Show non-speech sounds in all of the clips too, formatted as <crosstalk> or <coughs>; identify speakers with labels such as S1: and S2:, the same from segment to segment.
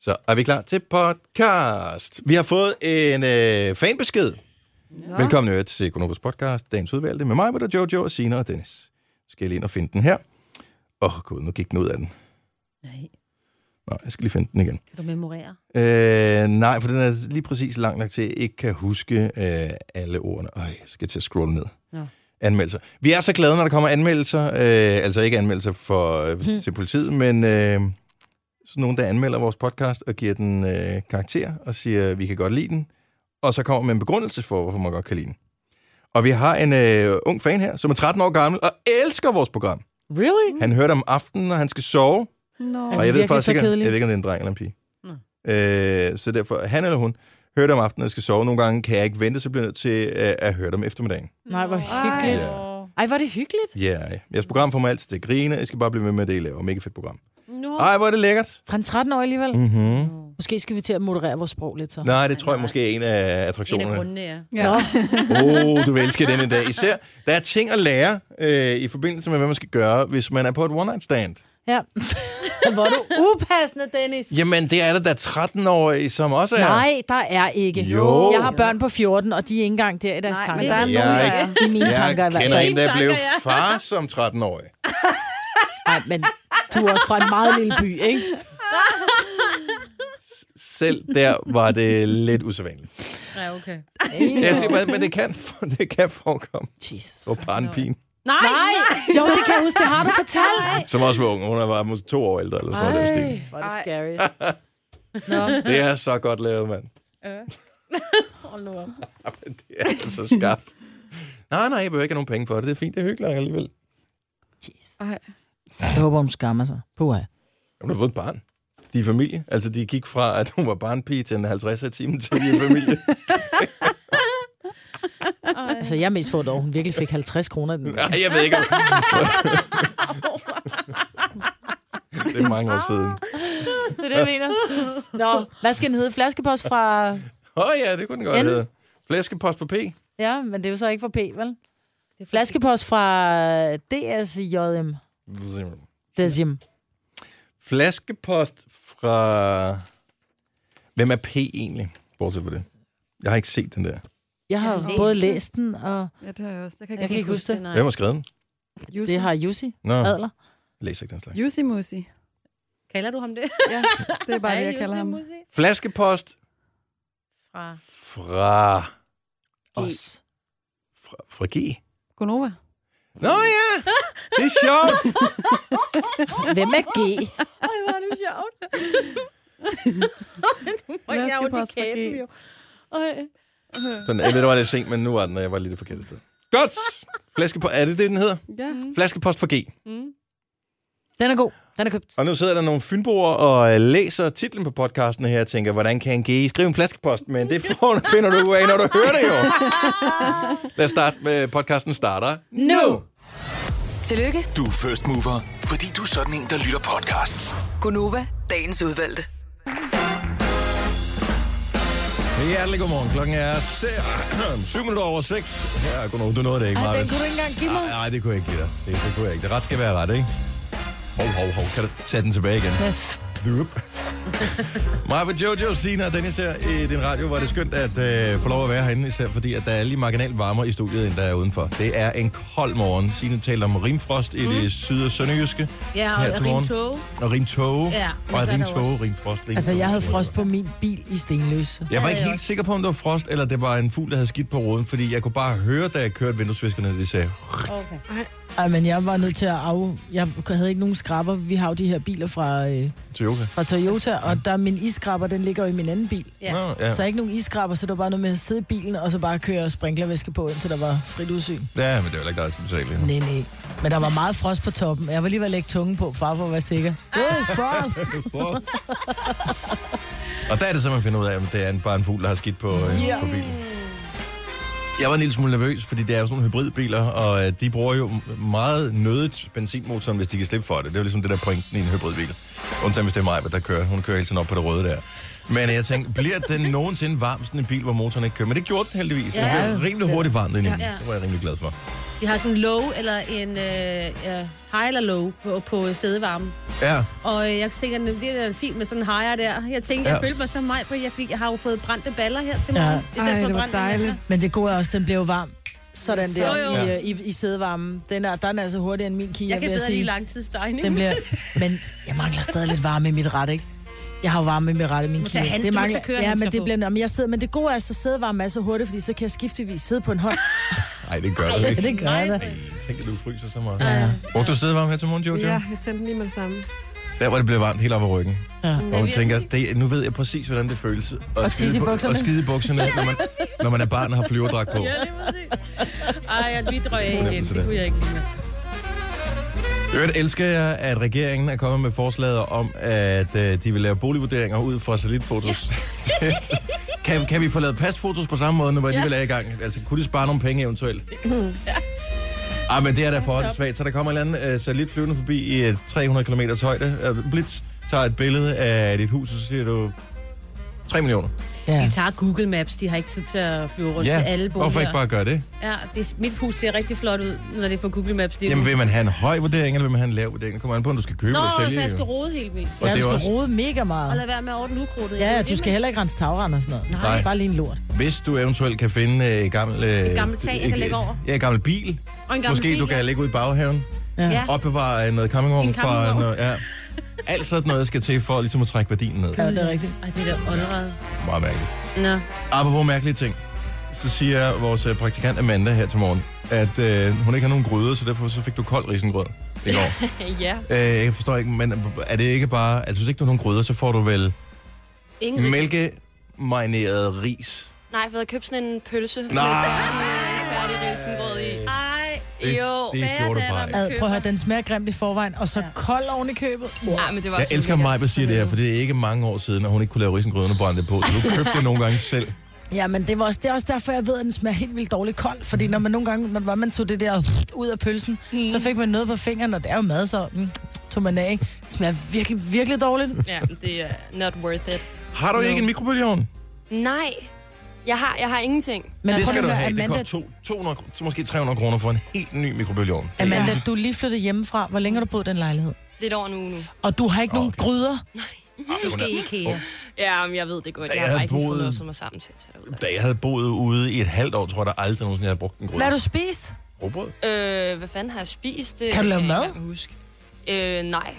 S1: Så er vi klar til podcast. Vi har fået en øh, fanbesked. Ja. Velkommen øh, til Konovas podcast, dagens udvalgte, med mig, med Jojo, og Sina og Dennis. Så skal jeg lige ind og finde den her. Åh, oh, gud, nu gik den ud af den.
S2: Nej,
S1: Nå, jeg skal lige finde den igen.
S2: kan du memorere?
S1: Øh, nej, for den er lige præcis lang nok til, at jeg ikke kan huske øh, alle ordene. Øj, jeg skal til at scrolle ned.
S2: Nå.
S1: Anmeldelser. Vi er så glade, når der kommer anmeldelser. Øh, altså ikke anmeldelser for, øh, til politiet, men øh, sådan nogen, der anmelder vores podcast og giver den øh, karakter og siger, vi kan godt lide den. Og så kommer man en begrundelse for, hvorfor man godt kan lide den. Og vi har en øh, ung fan her, som er 13 år gammel og elsker vores program.
S2: Really?
S1: Han hører det om aftenen, når han skal sove,
S3: Nå.
S1: og jeg ved
S2: virkelig
S1: faktisk
S2: så
S1: ikke, om- jeg
S2: kedelig?
S1: ved ikke, om det er en dreng eller en pige. Øh, så derfor, han eller hun, hører det om aftenen, når jeg skal sove. Nogle gange kan jeg ikke vente, så bliver jeg nødt til øh, at høre det om eftermiddagen.
S3: Nej, hvor hyggeligt.
S1: Ja.
S3: Ej, var det hyggeligt.
S1: Ja, yeah. jeres program får mig altid til at grine. Jeg skal bare blive ved med at det, I laver. Mega fedt program.
S2: No.
S1: Ej, hvor er det lækkert.
S3: Fra en 13 år alligevel.
S1: Mm-hmm.
S3: Måske skal vi til at moderere vores sprog lidt så.
S1: Nej, det tror jeg måske er en af
S2: En af
S1: attraktionerne.
S2: grundene, ja.
S3: Ja. Nå,
S1: Åh, oh, du vil elske den i dag. Især, der er ting at lære øh, i forbindelse med, hvad man skal gøre, hvis man er på et one-night-stand.
S3: ja. <laughs> Hvor er du upassende, Dennis.
S1: Jamen, det er der da 13-årige, som også er.
S3: Nej, der er ikke.
S1: Jo.
S3: Jeg har børn på 14, og de er ikke engang der i deres
S4: Nej, men der
S3: tanker.
S4: er
S1: Jeg
S4: nogen, der
S1: er
S4: er.
S1: ikke-
S3: I mine tanker i
S1: Jeg
S3: hvert
S1: kender
S3: fald.
S1: en, der
S2: Mine
S1: blev
S3: <laughs>
S2: tanker, ja.
S1: far som 13-årig.
S3: Nej, men du er også fra en meget lille by, ikke?
S1: Selv der var det lidt usædvanligt.
S2: ja, okay.
S1: Jeg siger, bare, men det kan, det kan forekomme.
S3: Jesus.
S1: Og barnpigen,
S2: Nej,
S3: Nej, jo, det kan jeg huske, det har du fortalt.
S1: som også var ung. Hun var måske to år ældre, eller sådan noget. i den stil.
S3: Ej, hvor er det scary. Nå,
S1: Det er så godt lavet, mand.
S2: Hold nu op.
S1: Jamen, det er altså skarpt. Nej, nej, jeg behøver ikke have nogen penge for det. Det er fint, det er hyggeligt alligevel.
S3: jeez.
S4: Ej.
S3: Jeg håber, hun skammer sig. Puha.
S1: Hun har fået et barn. De er familie. Altså, de gik fra, at hun var barnpige til en 50 i timen til de er
S3: <laughs>
S1: familie.
S3: Altså, jeg er mest fået over, hun virkelig fik 50 kroner. i Den.
S1: Nej, jeg ved ikke. om- <laughs> det er mange år siden.
S3: Det er det, jeg mener. Nå, hvad skal den hedde? Flaskepost fra...
S1: Åh oh, ja, det kunne den godt
S3: Ellen?
S1: hedde. Flæskepost på P.
S3: Ja, men det er jo så ikke fra P, vel? Flaskepost fra DSJM. DSJM.
S1: Flaskepost fra... Hvem er P egentlig? Bortset fra det. Jeg har ikke set den der.
S3: Jeg har
S2: Jeg har
S3: jeg
S2: læst
S3: både
S2: den.
S3: læst den, og
S4: Ja, det har jeg også. Jeg kan
S3: Jeg kan ikke huske det.
S1: Hvem har skrevet den?
S4: Jussi.
S3: det har Jussi
S1: Nå, jeg
S3: Adler.
S1: læser ikke den slags.
S4: Jussi Musi.
S2: Kalder du ham det?
S4: <laughs> Ja, det er bare det, jeg
S2: Jussi
S4: kalder ham.
S2: Musi?
S1: Flaskepost
S2: Fra...
S1: fra...
S3: Os.
S1: Fra, fra G.
S4: Gonova.
S1: Nå ja, det er sjovt.
S3: <laughs> Hvem er G?
S2: Ej, hvor er det
S3: <laughs>
S2: sjovt. nu må jeg
S4: Flaskepost
S2: jo ondt i
S4: fra G.
S2: kæben, jo. Ej.
S1: Sådan, jeg ved, det var lidt sent, men nu var den, og jeg var lidt forkert sted. Godt! Flaskepost, er det det, den hedder?
S4: Ja.
S1: Flaskepost fra G.
S3: Den er god. Den er købt.
S1: Og nu sidder der nogle fynboer og øh, læser titlen på podcasten her og tænker, hvordan kan en G skrive en flaskepost? Men det får- <laughs> finder du ud af, når du hører det jo. Lad os starte med podcasten starter.
S3: Nu!
S5: Tillykke,
S6: Du er first mover, fordi du er sådan en, der lytter podcasts.
S5: Gunova, dagens udvalgte.
S1: Hjertelig godmorgen. Klokken er <clears throat> 7 minutter over 6. Ja, godmorgen. Du nåede det ikke,
S3: Ej, den
S1: Marvind.
S3: kunne du ikke engang give mig.
S1: Nej, nej, det kunne jeg ikke give dig. Det, det kunne jeg ikke. Det ret skal være ret, ikke? Hov, hov, hov. Kan du tage den tilbage igen? Dup. <laughs> Mig med Jojo, Sina og Dennis her i din radio, hvor det er skønt at øh, få lov at være herinde, især fordi, at der er lige marginalt varmere i studiet, end der er udenfor. Det er en kold morgen. Sina taler om rimfrost
S3: Mm.
S1: i det syd- og sønderjyske.
S2: Ja, og
S1: her til morgen.
S2: rimtåge.
S1: Og rimtåge.
S2: Ja, men
S1: og
S2: så er der
S1: rimtåge,
S2: også-
S1: rimfrost, rimtåge.
S3: Altså, jeg havde frost på min bil i Stenløse.
S1: Jeg var ikke
S2: havde jeg
S1: helt sikker på, om det var frost, eller det var en fugl, der havde skidt på roden, fordi jeg kunne bare høre, da jeg kørte vinduesviskerne, at de sagde,
S2: Okay.
S3: Ej, men jeg var nødt til at af... Jeg havde ikke nogen skrabber. Vi har jo de her biler fra, øh,
S1: Toyota.
S3: fra Toyota, og der er min iskrabber, den ligger jo i min anden bil.
S2: Ja.
S1: Nå, ja.
S3: Så ikke nogen iskrabber, så det var bare noget med at sidde i bilen, og så bare køre sprinklervæske på, indtil der var frit udsyn.
S1: Ja, men det er jo ikke dig, der skal betale.
S3: Nej, nej. Men der var meget frost på toppen. Jeg var lige ved at lægge tungen på, far for at være sikker. Wow,
S1: <laughs>
S3: frost!
S1: og der er det så, man finder ud af, om det er en, bare en fugl, der har skidt på, øh, yeah. på bilen. Jeg var en lille smule nervøs, fordi det er jo sådan nogle hybridbiler, og øh, de bruger jo meget nødigt benzinmotoren, hvis de kan slippe for det. Det er jo ligesom det der pointen i en hybridbil. Undtagen hvis det er mig, der kører. Hun kører hele tiden op på det røde der. Men øh, jeg tænkte, bliver den nogensinde varm, sådan en bil, hvor motoren ikke kører? Men det gjorde den heldigvis. Ja. Det blev rimelig hurtigt varmt indeni. Ja. Det var jeg rimelig glad for.
S2: Det De har sådan en low eller en øh, ja, high eller low på, på sædevarmen.
S1: Ja.
S2: Og øh, jeg tænker, det bliver da fint med sådan en higher der. Jeg tænkte,
S1: Ja.
S2: jeg følte mig så meget på, jeg, fik, jeg har jo fået brændte baller her
S3: <laughs>
S2: til
S3: Ja.
S2: morgen. Ja.
S4: Ej, det var dejligt.
S3: Men det gode er også, at den bliver jo varm. Sådan
S2: Så
S3: der
S2: jo.
S3: i, øh, i, i sædevarmen. Den er, der er den altså hurtigere end min kia,
S2: Jeg kan
S3: vil
S2: bedre
S3: sige.
S2: lige langtidsstegning.
S3: Den bliver, men jeg mangler stadig lidt varme i mit ret, ikke? Jeg har jo varme i mit ret i min
S2: må tage
S3: kia.
S2: hand-
S3: det
S2: du må
S3: mangler,
S2: tage kørehandsker
S3: ja, men det
S2: på.
S3: bliver, men, jeg sidder, men det gode er, så sædevarme er så hurtigt, fordi så kan jeg skiftevis sidde på en hånd.
S2: Ah,
S1: Nej, det gør det ikke.
S3: det gør jeg da.
S1: Tænk, at du fryser så meget. Ja. Brugte du sædevarme her til morgen, Jojo?
S4: Ja, jeg tændte den lige med det samme.
S1: Der, hvor det blev varmt helt op ad ryggen.
S3: Ja.
S1: Og hun tænker, det, nu ved jeg præcis, hvordan det føles at
S3: Og
S1: skide
S3: tisse i
S1: bu-
S3: bukserne.
S1: Og skide i bukserne, når
S4: <laughs>
S1: man, når man er barn og har flyverdragt på.
S2: Ja, lige præcis. Ej, jeg lige drøg af igen.
S1: Fornemmelse der.
S2: Det kunne jeg ikke lide.
S1: I Øvrigt elsker jeg, at regeringen er kommet med forslaget om, at øh, de vil lave boligvurderinger ud fra satellitfotos. Ja. <laughs> kan, kan vi få lavet pasfotos på samme måde, når vi alligevel er i gang? Altså, kunne de spare nogle penge eventuelt? Ah, men det er da for svagt. Så der kommer en eller anden øh, satellit flyvende forbi i øh, 300 km højde. Øh, blitz tager et billede af dit hus, og så siger du 3 millioner.
S2: De
S3: Ja.
S2: tager Google Maps, de har ikke tid til at flyve rundt til alle boliger.
S1: hvorfor ikke bare gøre det?
S2: Ja, det, mit hus ser rigtig flot ud, når det er på Google Maps. Det er
S1: Jamen,
S2: nu.
S1: vil man have en høj vurdering, eller vil man have en lav vurdering? Det kommer an på, om du skal købe
S2: Nå,
S1: eller sælge.
S2: så jeg
S1: jo.
S2: skal rode helt vildt.
S1: Og
S3: Ja,
S1: det
S3: du
S1: er jo
S3: skal
S1: også-
S3: rode mega
S2: Og
S3: meget.
S2: lad være med at ordne ukrudtet.
S3: Ja, du skal heller ikke rense tagrende og sådan noget.
S1: Nej.
S3: Bare lige en lort.
S1: Hvis du eventuelt kan finde øh, gammel, øh, et
S2: gammelt tag, jeg kan lægge over.
S1: Ja, et gammelt bil.
S2: Og en gammel
S1: Måske
S2: bil,
S1: du kan
S2: ja.
S1: lægge ud i baghaven.
S2: Ja.
S1: Opbevare øh, noget campingvogn
S2: En
S1: fra...
S2: campingvogn.
S1: Noget,
S2: <laughs>
S1: ja. Alt sådan noget skal til for ligesom at trække værdien ned.
S3: Ja, det er rigtigt.
S2: Ej, det er da åndret.
S1: Meget mærkeligt.
S2: Nå.
S1: Apropos mærkelige ting. Så siger vores øh, praktikant Amanda her til morgen, at øh, hun ikke har nogen gryde, så derfor så fik du kold risengrød i går.
S7: <laughs>
S2: ja.
S1: øh, jeg forstår ikke, men er det ikke bare... Altså, hvis ikke du har nogen gryder, så får du vel
S7: Ingen ris.
S1: mælkemarineret ris.
S7: Nej, for jeg købte sådan en pølse. med
S1: Nej.
S7: færdig- Færdig risengrød i.
S2: Ej,
S1: Det-
S7: Jo,
S1: det
S2: bager
S1: gjorde du
S2: der,
S1: bare
S2: der
S1: ikke.
S3: Ad, prøv at høre, den smager grimt i forvejen, og så kold oven i købet. Wow.
S7: Nej, men det var
S1: Jeg
S7: sådan
S1: elsker
S7: mega-
S1: mig, at siger det her, for det er ikke mange år siden, at hun ikke kunne lave risengrøden og brænde det på. Så du købte det nogle gange selv.
S3: Ja, men det, var også, det er også derfor, jeg ved, at den smager helt vildt dårligt kold. Fordi når man nogle gange, når det var, man tog det der ud af pølsen, mm. så fik man noget på fingeren, og det er jo mad, så mm, tog man af. ikke? Det smager virkelig, virkelig dårligt.
S7: Ja, det er not worth it.
S1: Har du ikke en mikrobølgeovn?
S7: Nej, jeg har, jeg har ingenting.
S3: Men
S1: Det
S3: prøv
S1: skal
S3: nu
S1: du
S3: at høre,
S1: have. Det
S3: Amanda,
S1: koster to- 200, kr- så måske 300 kroner for en helt ny mikrobølgeovn.
S3: Amanda, du er lige flyttet hjemmefra. Hvor længe har du boet i den lejlighed?
S7: Lidt over en uge nu.
S3: Og du har ikke
S1: Nå,
S3: okay. nogen
S1: okay.
S3: gryder.
S2: Du skal i IKEA.
S7: Ja, men jeg ved det godt.
S1: Da
S7: Jeg,
S1: jeg
S7: har
S1: havde
S7: ikke boet...
S1: boet-
S7: fået noget, som er sammen til at tage ud.
S1: Da jeg havde boet ude i et halvt år, tror jeg, der aldrig nogensinde jeg havde brugt en gryde.
S3: Hvad har du spist?
S1: Råbrød?
S7: Øh, hvad fanden har jeg spist? Det
S3: Kan du lave
S7: jeg
S3: mad?
S7: ikke engang huske. Øh, nej.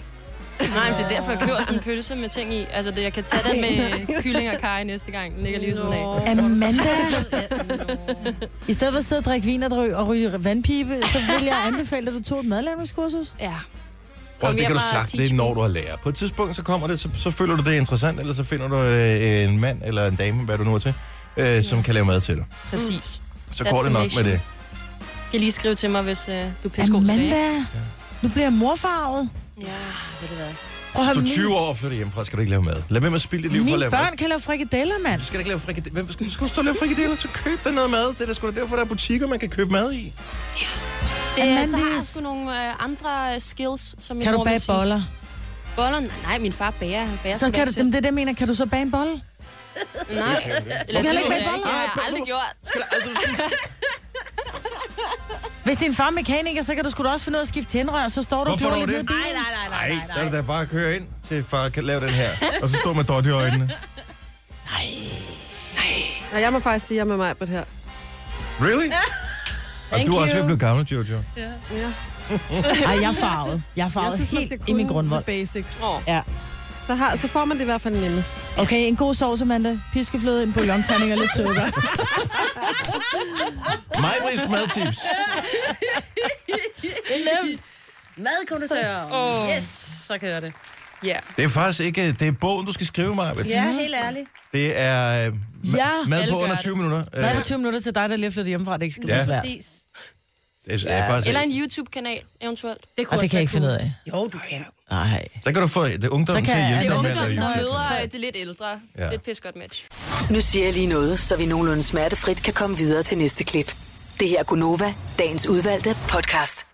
S7: Nej, men det er derfor, jeg køber sådan en pølse med ting i. Altså, det, jeg kan tage den med kylling og kaj næste gang. Den ligger lige ved siden af.
S3: Amanda,
S7: <laughs> Ja, nå.
S3: i stedet for at sidde og drikke vin og, dry- og ryge vandpibe, så vil jeg anbefale, at du tog et madlavningskursus.
S7: Ja.
S1: Prøv,
S7: Kom
S1: det
S7: hjem
S1: kan du
S7: og
S1: sagt, det er
S7: teach me.
S1: når du har lærer. På et tidspunkt, så kommer det, så, så føler du det er interessant, eller så finder du øh, en mand eller en dame, hvad du nu er til, øh, som kan lave mad til dig.
S7: Præcis.
S1: Mm. Så
S7: That's
S1: går det
S7: the
S1: nok med
S7: nation.
S1: det.
S7: Du kan lige skrive til mig, hvis øh, du er pissegod til det.
S3: Amanda, nu bliver jeg morfarvet.
S7: Ja, ved du hvad.
S3: Prøv at
S1: Du er
S3: høre,
S1: 20
S3: mine,
S1: år og flytter hjemmefra, skal du ikke lave mad. Lad være med at spille dit liv på at
S3: mine
S1: lave mad.
S3: børn kan lave frikadeller, mand.
S1: Du skal da ikke lave frikadeller. Hvem skal, skal du stå og lave frikadeller? Så køb dig noget mad. Det er da sgu da derfor, der er butikker, man kan købe mad i.
S7: Det er, Øh, så har jeg
S3: Amandis.
S7: sgu nogle øh, andre øh, skills, som min
S3: Kan du
S7: mor vil
S3: bage
S7: sige.
S3: boller?
S7: Boller? Nej, nej, min far bager. Han bager
S3: Så
S7: sgu da
S3: kan du,
S7: ikke
S3: dem, det er det, jeg mener. Kan du så bage en bolle?
S7: selv. Nej. Eller, ved
S3: heller ikke bage
S7: jeg
S3: boller.
S7: Det har jeg aldrig gjort.
S1: Skal der aldrig
S3: Hvis din far er mekaniker, så kan du sgu da også finde ud af at skifte tændrør, så står du og
S1: Hvorfor
S3: klør
S1: dog
S3: lidt ned i
S1: det?
S3: bilen.
S2: Nej, nej, nej, nej,
S1: Nej, så er det da bare at køre ind til far kan lave den her. Og så stå med dot i øjnene.
S4: Og jeg må faktisk sige, at jeg er med mig på det her.
S1: Really? Og du er også ved at blive gammel, Jojo.
S4: Ja.
S3: Ej, jeg er farvet. Jeg er farvet jeg synes,
S4: skal
S3: helt i min
S4: kunne
S3: grundvold.
S4: the basics.
S7: Åh.
S3: Ja.
S4: Så, har, så får man det i hvert fald nemmest.
S3: Okay, en god sovs, Amanda. Piskefløde, en bouillonterning og lidt sukker.
S1: <laughs> Mig med madtips.
S2: Det er nemt. Madkondensør. Oh. Yes, så kan jeg det.
S7: Ja.
S1: Det er faktisk ikke... Det er bogen, du skal skrive mig.
S2: Ja, helt ærligt.
S1: Det er øh, ma-
S3: Ja.
S1: mad
S7: Alle
S1: på
S7: gør
S1: under
S7: det.
S1: 20 minutter. Øh,
S3: Hvad er 20 minutter til dig, der lige er flyttet hjemmefra? Det er ikke skal
S1: Ja.
S3: ja. svært.
S2: Præcis.
S1: det er- er faktisk
S7: Eller
S1: ikke-
S7: en YouTube-kanal, eventuelt.
S3: Og det kan jeg ikke finde ud af.
S2: Jo, du kan.
S3: Nej.
S1: Der kan du få det er ungdommen
S3: Så
S1: til
S3: kan
S1: at
S3: jeg-
S1: hjælpe
S7: Det
S3: Det
S7: er
S1: dig med at
S7: ungdom,
S1: lave
S7: der
S1: YouTube.
S7: møder øh, det lidt ældre.
S1: Ja.
S7: Det er et pis godt match.
S5: Nu siger jeg lige noget, så vi nogenlunde smertefrit kan komme videre til næste klip. Det her er Gunova, dagens udvalgte podcast.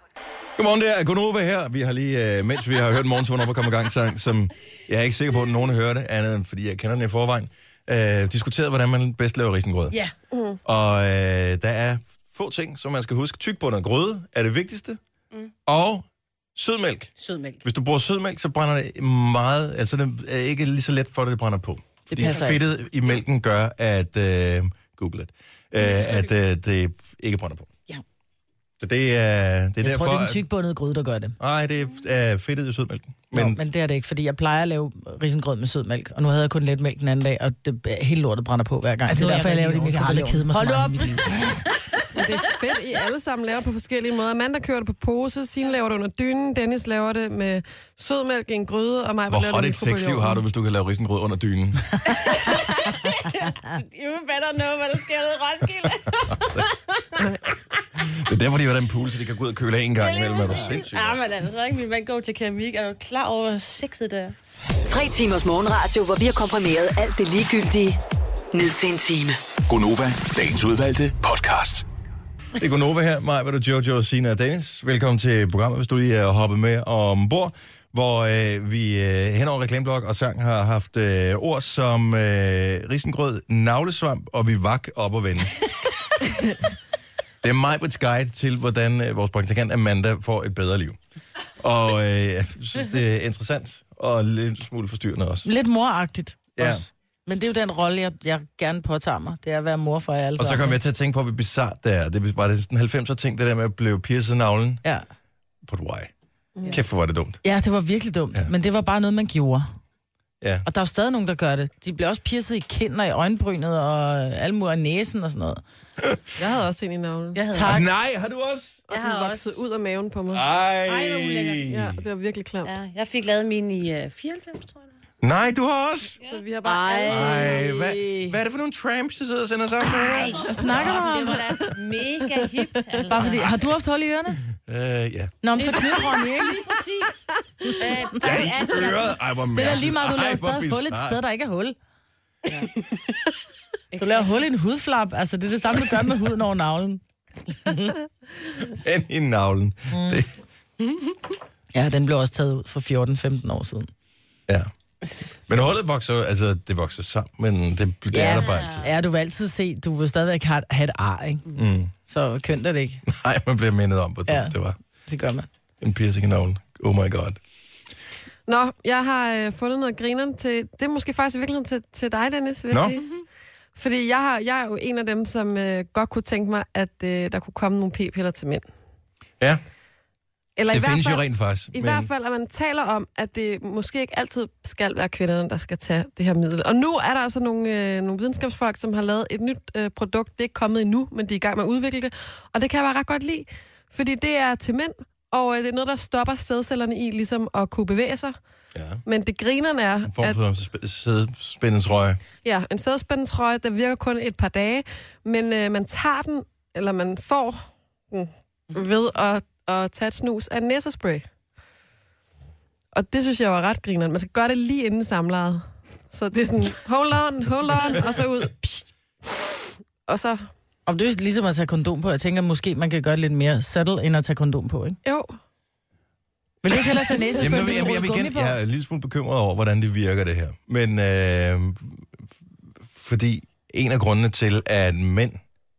S1: Godmorgen, det er Gunova her. Vi har lige, øh, mens vi har hørt morgenturen op og komme i gang sang, som jeg er ikke sikker på, at nogen hører det, andet end fordi jeg kender den i forvejen, øh, diskuteret, hvordan man bedst laver risengrød.
S2: Ja.
S1: Og øh, der er få ting, som man skal huske. Tyk på noget grøde er det vigtigste. Mm. Og sødmælk.
S2: Sødmælk.
S1: Hvis du bruger sødmælk, så brænder det meget... Altså, det er ikke lige så let for det, det brænder på. Fordi
S3: passer ikke.
S1: fedtet i mælken gør, at... Øh, Google det. Øh, at øh, det ikke brænder på.
S2: Ja.
S1: Så det er, det er
S3: Jeg
S1: derfor...
S3: tror, det er den
S1: at-
S3: tygbundede gryde, der gør det.
S1: Nej, det er øh, fedtet i sødmælken.
S3: Men,
S1: Men,
S3: men det er det ikke, fordi jeg plejer at lave risengrød med sødmælk, og nu havde jeg kun let mælk den anden dag, og det, hele lortet brænder på hver gang. Altså,
S8: nu
S3: det
S8: er
S3: er derfor, jeg
S8: rigtig
S3: laver det
S8: over.
S3: i
S8: Jeg har aldrig
S3: mikrofonloven.
S8: kedet mig så meget
S3: Hold nu op!
S8: i mit
S3: <laughs>
S8: liv.
S4: Men det er fedt, I alle sammen laver det på forskellige måder. Amanda kører det på pose, Signe laver det under dynen, Dennis laver det med sødmælk i en gryde, og mig
S1: hvor hot et sexliv har du, hvis du kan lave risengrød under
S3: <laughs>
S1: dynen?
S2: You better know, hvad der sker ude i Roskilde.
S1: Det er derfor, de har den pool, så de kan gå ud og køle af en gang imellem. Er du sindssyg?
S2: Ja, men altså, ikke min mand går til keramik. Er du klar over, hvor sexet det er?
S5: Tre timers morgenradio, hvor vi har komprimeret alt det ligegyldige ned til en time.
S6: Gonova, dagens udvalgte podcast.
S1: Det er Gunova her, mig, hvad du Jojo, Sina og Dennis. Velkommen til programmet, hvis du lige er hoppet med ombord, hvor øh, vi øh, hen over reklameblok og sang har haft øh, ord som øh, risengrød, navlesvamp og vivak op og vende. det er Majbrits guide til, hvordan øh, vores praktikant Amanda får et bedre liv. Og øh, jeg synes, det er interessant og lidt smule forstyrrende også.
S3: Lidt moragtigt
S1: Ja.
S3: ja. også. Men det er jo den rolle, jeg, jeg gerne påtager mig. Det er at være mor for jer alle
S1: Og så kom
S3: sammen.
S1: jeg til at tænke på, hvor bizart det er. Det var det sådan 90'er ting, det der med at blive pierced i navlen.
S3: Ja.
S1: But why? Kæft, hvor var det dumt.
S3: ja, det var virkelig dumt,
S1: Ja.
S3: ja. men det var bare noget, man gjorde.
S1: Ja.
S3: Og der er jo stadig nogen, der gør det. De bliver også pierced i kinden og i øjenbrynet og alle mulige og næsen og sådan noget.
S4: Jeg havde også en i navlen.
S2: Jeg havde
S3: Tak.
S1: Ah, Nej, har du også?
S4: Og
S2: Jeg
S4: den
S2: har
S4: voksede
S2: også-
S4: ud af maven på mig.
S1: Ej.
S2: Ej, hvor ulækkert.
S4: Ja, det var virkelig klamt.
S2: Ja, jeg fik lavet min i øh, 94, tror jeg.
S1: Nej, du har også?
S4: Så vi har bare
S2: Ej.
S4: alle
S1: Ej,
S4: sammen-
S1: hvad, hvad er det for nogle tramps, der sidder og sender sammen med jer?
S3: Jeg snakker du om
S2: Det var da mega hipt, altså.
S3: Bare fordi, har du haft hul i ørerne?
S1: Øh, ja. <laughs>
S3: Nå, men så knytter ikke.
S2: Lige præcis. Øh,
S1: Ja,
S2: bare
S1: i
S2: ansat.
S1: øret. Ej, hvor
S3: Det er da
S1: mærkeligt.
S3: lige meget, du
S1: Ej,
S3: laver
S1: hvor
S3: stadig hul et
S1: bizart.
S3: sted, der ikke er hul. <laughs> Du laver hul i en hudflap. Altså, det er det samme, du gør med huden over navlen. <laughs>
S1: Hen i navlen. Det,
S3: Mm. Ja, den blev også taget ud for 14-15 år siden.
S1: ja. Men hullet vokser, jo- altså, det vokser sammen, men det, det er der bare altid.
S3: Ja, du vil altid se, du vil stadigvæk have, have et ar, ikke? Mm. Så kønt er det ikke.
S1: <laughs> Nej, man bliver mindet om, hvor dumt
S3: Ja.
S1: det var.
S3: Det gør man.
S1: En piercing i navlen. Oh my god.
S4: Nå, jeg har øh, fundet noget grineren til... Det er måske faktisk i virkeligheden til, til dig, Dennis, vil
S1: Nå.
S4: jeg sige. Fordi jeg, har, jeg er jo en af dem, som øh, godt kunne tænke mig, at øh, der kunne komme nogle p-piller til mænd.
S1: Ja,
S4: Eller
S1: det
S4: i hvert
S1: findes
S4: fald,
S1: jo rent faktisk.
S4: I hvert fald, at man taler om, at det måske ikke altid skal være kvinderne, der skal tage det her middel. Og nu er der altså nogle, øh, nogle videnskabsfolk, som har lavet et nyt øh, produkt. Det er ikke kommet endnu, men de er i gang med at udvikle det. Og det kan jeg bare ret godt lide, fordi det er til mænd, og øh, det er noget, der stopper sædcellerne i ligesom at kunne bevæge sig.
S1: Ja.
S4: Men det grinerne er,
S1: En
S4: at
S1: form for sp- sædspændingsrøje.
S4: ja, en sædspændingsrøg, der virker kun et par dage, men øh, man tager den, eller man får den ved at, at tage et snus af næsespray. Og det synes jeg var ret grineren. Man skal gøre det lige inden samlejet. Så det er sådan, hold on, hold on, og så ud. Pst, og så,
S3: Om det er ligesom at tage kondom på, jeg tænker, måske man kan gøre det lidt mere subtle, end at tage kondom på, ikke?
S4: jo,
S3: Vil du ikke hellere tage næsespray,
S1: Jamen,
S3: Jamen,
S1: jeg, jeg, jeg,
S3: jeg,
S1: jeg,
S3: gummi
S1: igen,
S3: på?
S1: jeg er en lille smule bekymret over, hvordan det virker, det her. Men øh, f- fordi en af grundene til, at mænd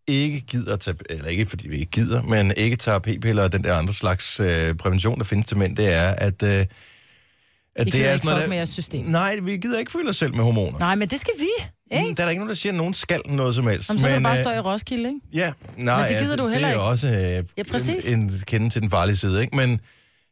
S1: ikke gider at tage, eller ikke fordi vi ikke gider, men ikke tager p-piller og den der andre slags øh, prævention, der findes til mænd, det er, at, øh, at det
S3: gider
S1: er sådan
S3: ikke
S1: noget...
S3: fuck med
S1: der-
S3: jeres system.
S1: Nej, vi gider ikke føle os selv med hormoner.
S3: Nej, men det skal vi, ikke?
S1: Der er der ikke nogen, der siger, at nogen skal noget som helst.
S3: Om så kan du bare stå
S1: øh,
S3: i Roskilde, ikke?
S1: Ja, nej,
S3: Men det gider
S1: ja,
S3: du
S1: det, det
S3: heller
S1: er
S3: ikke.
S1: også øh,
S3: Ja, præcis.
S1: en, en kende til den farlige side, ikke? Men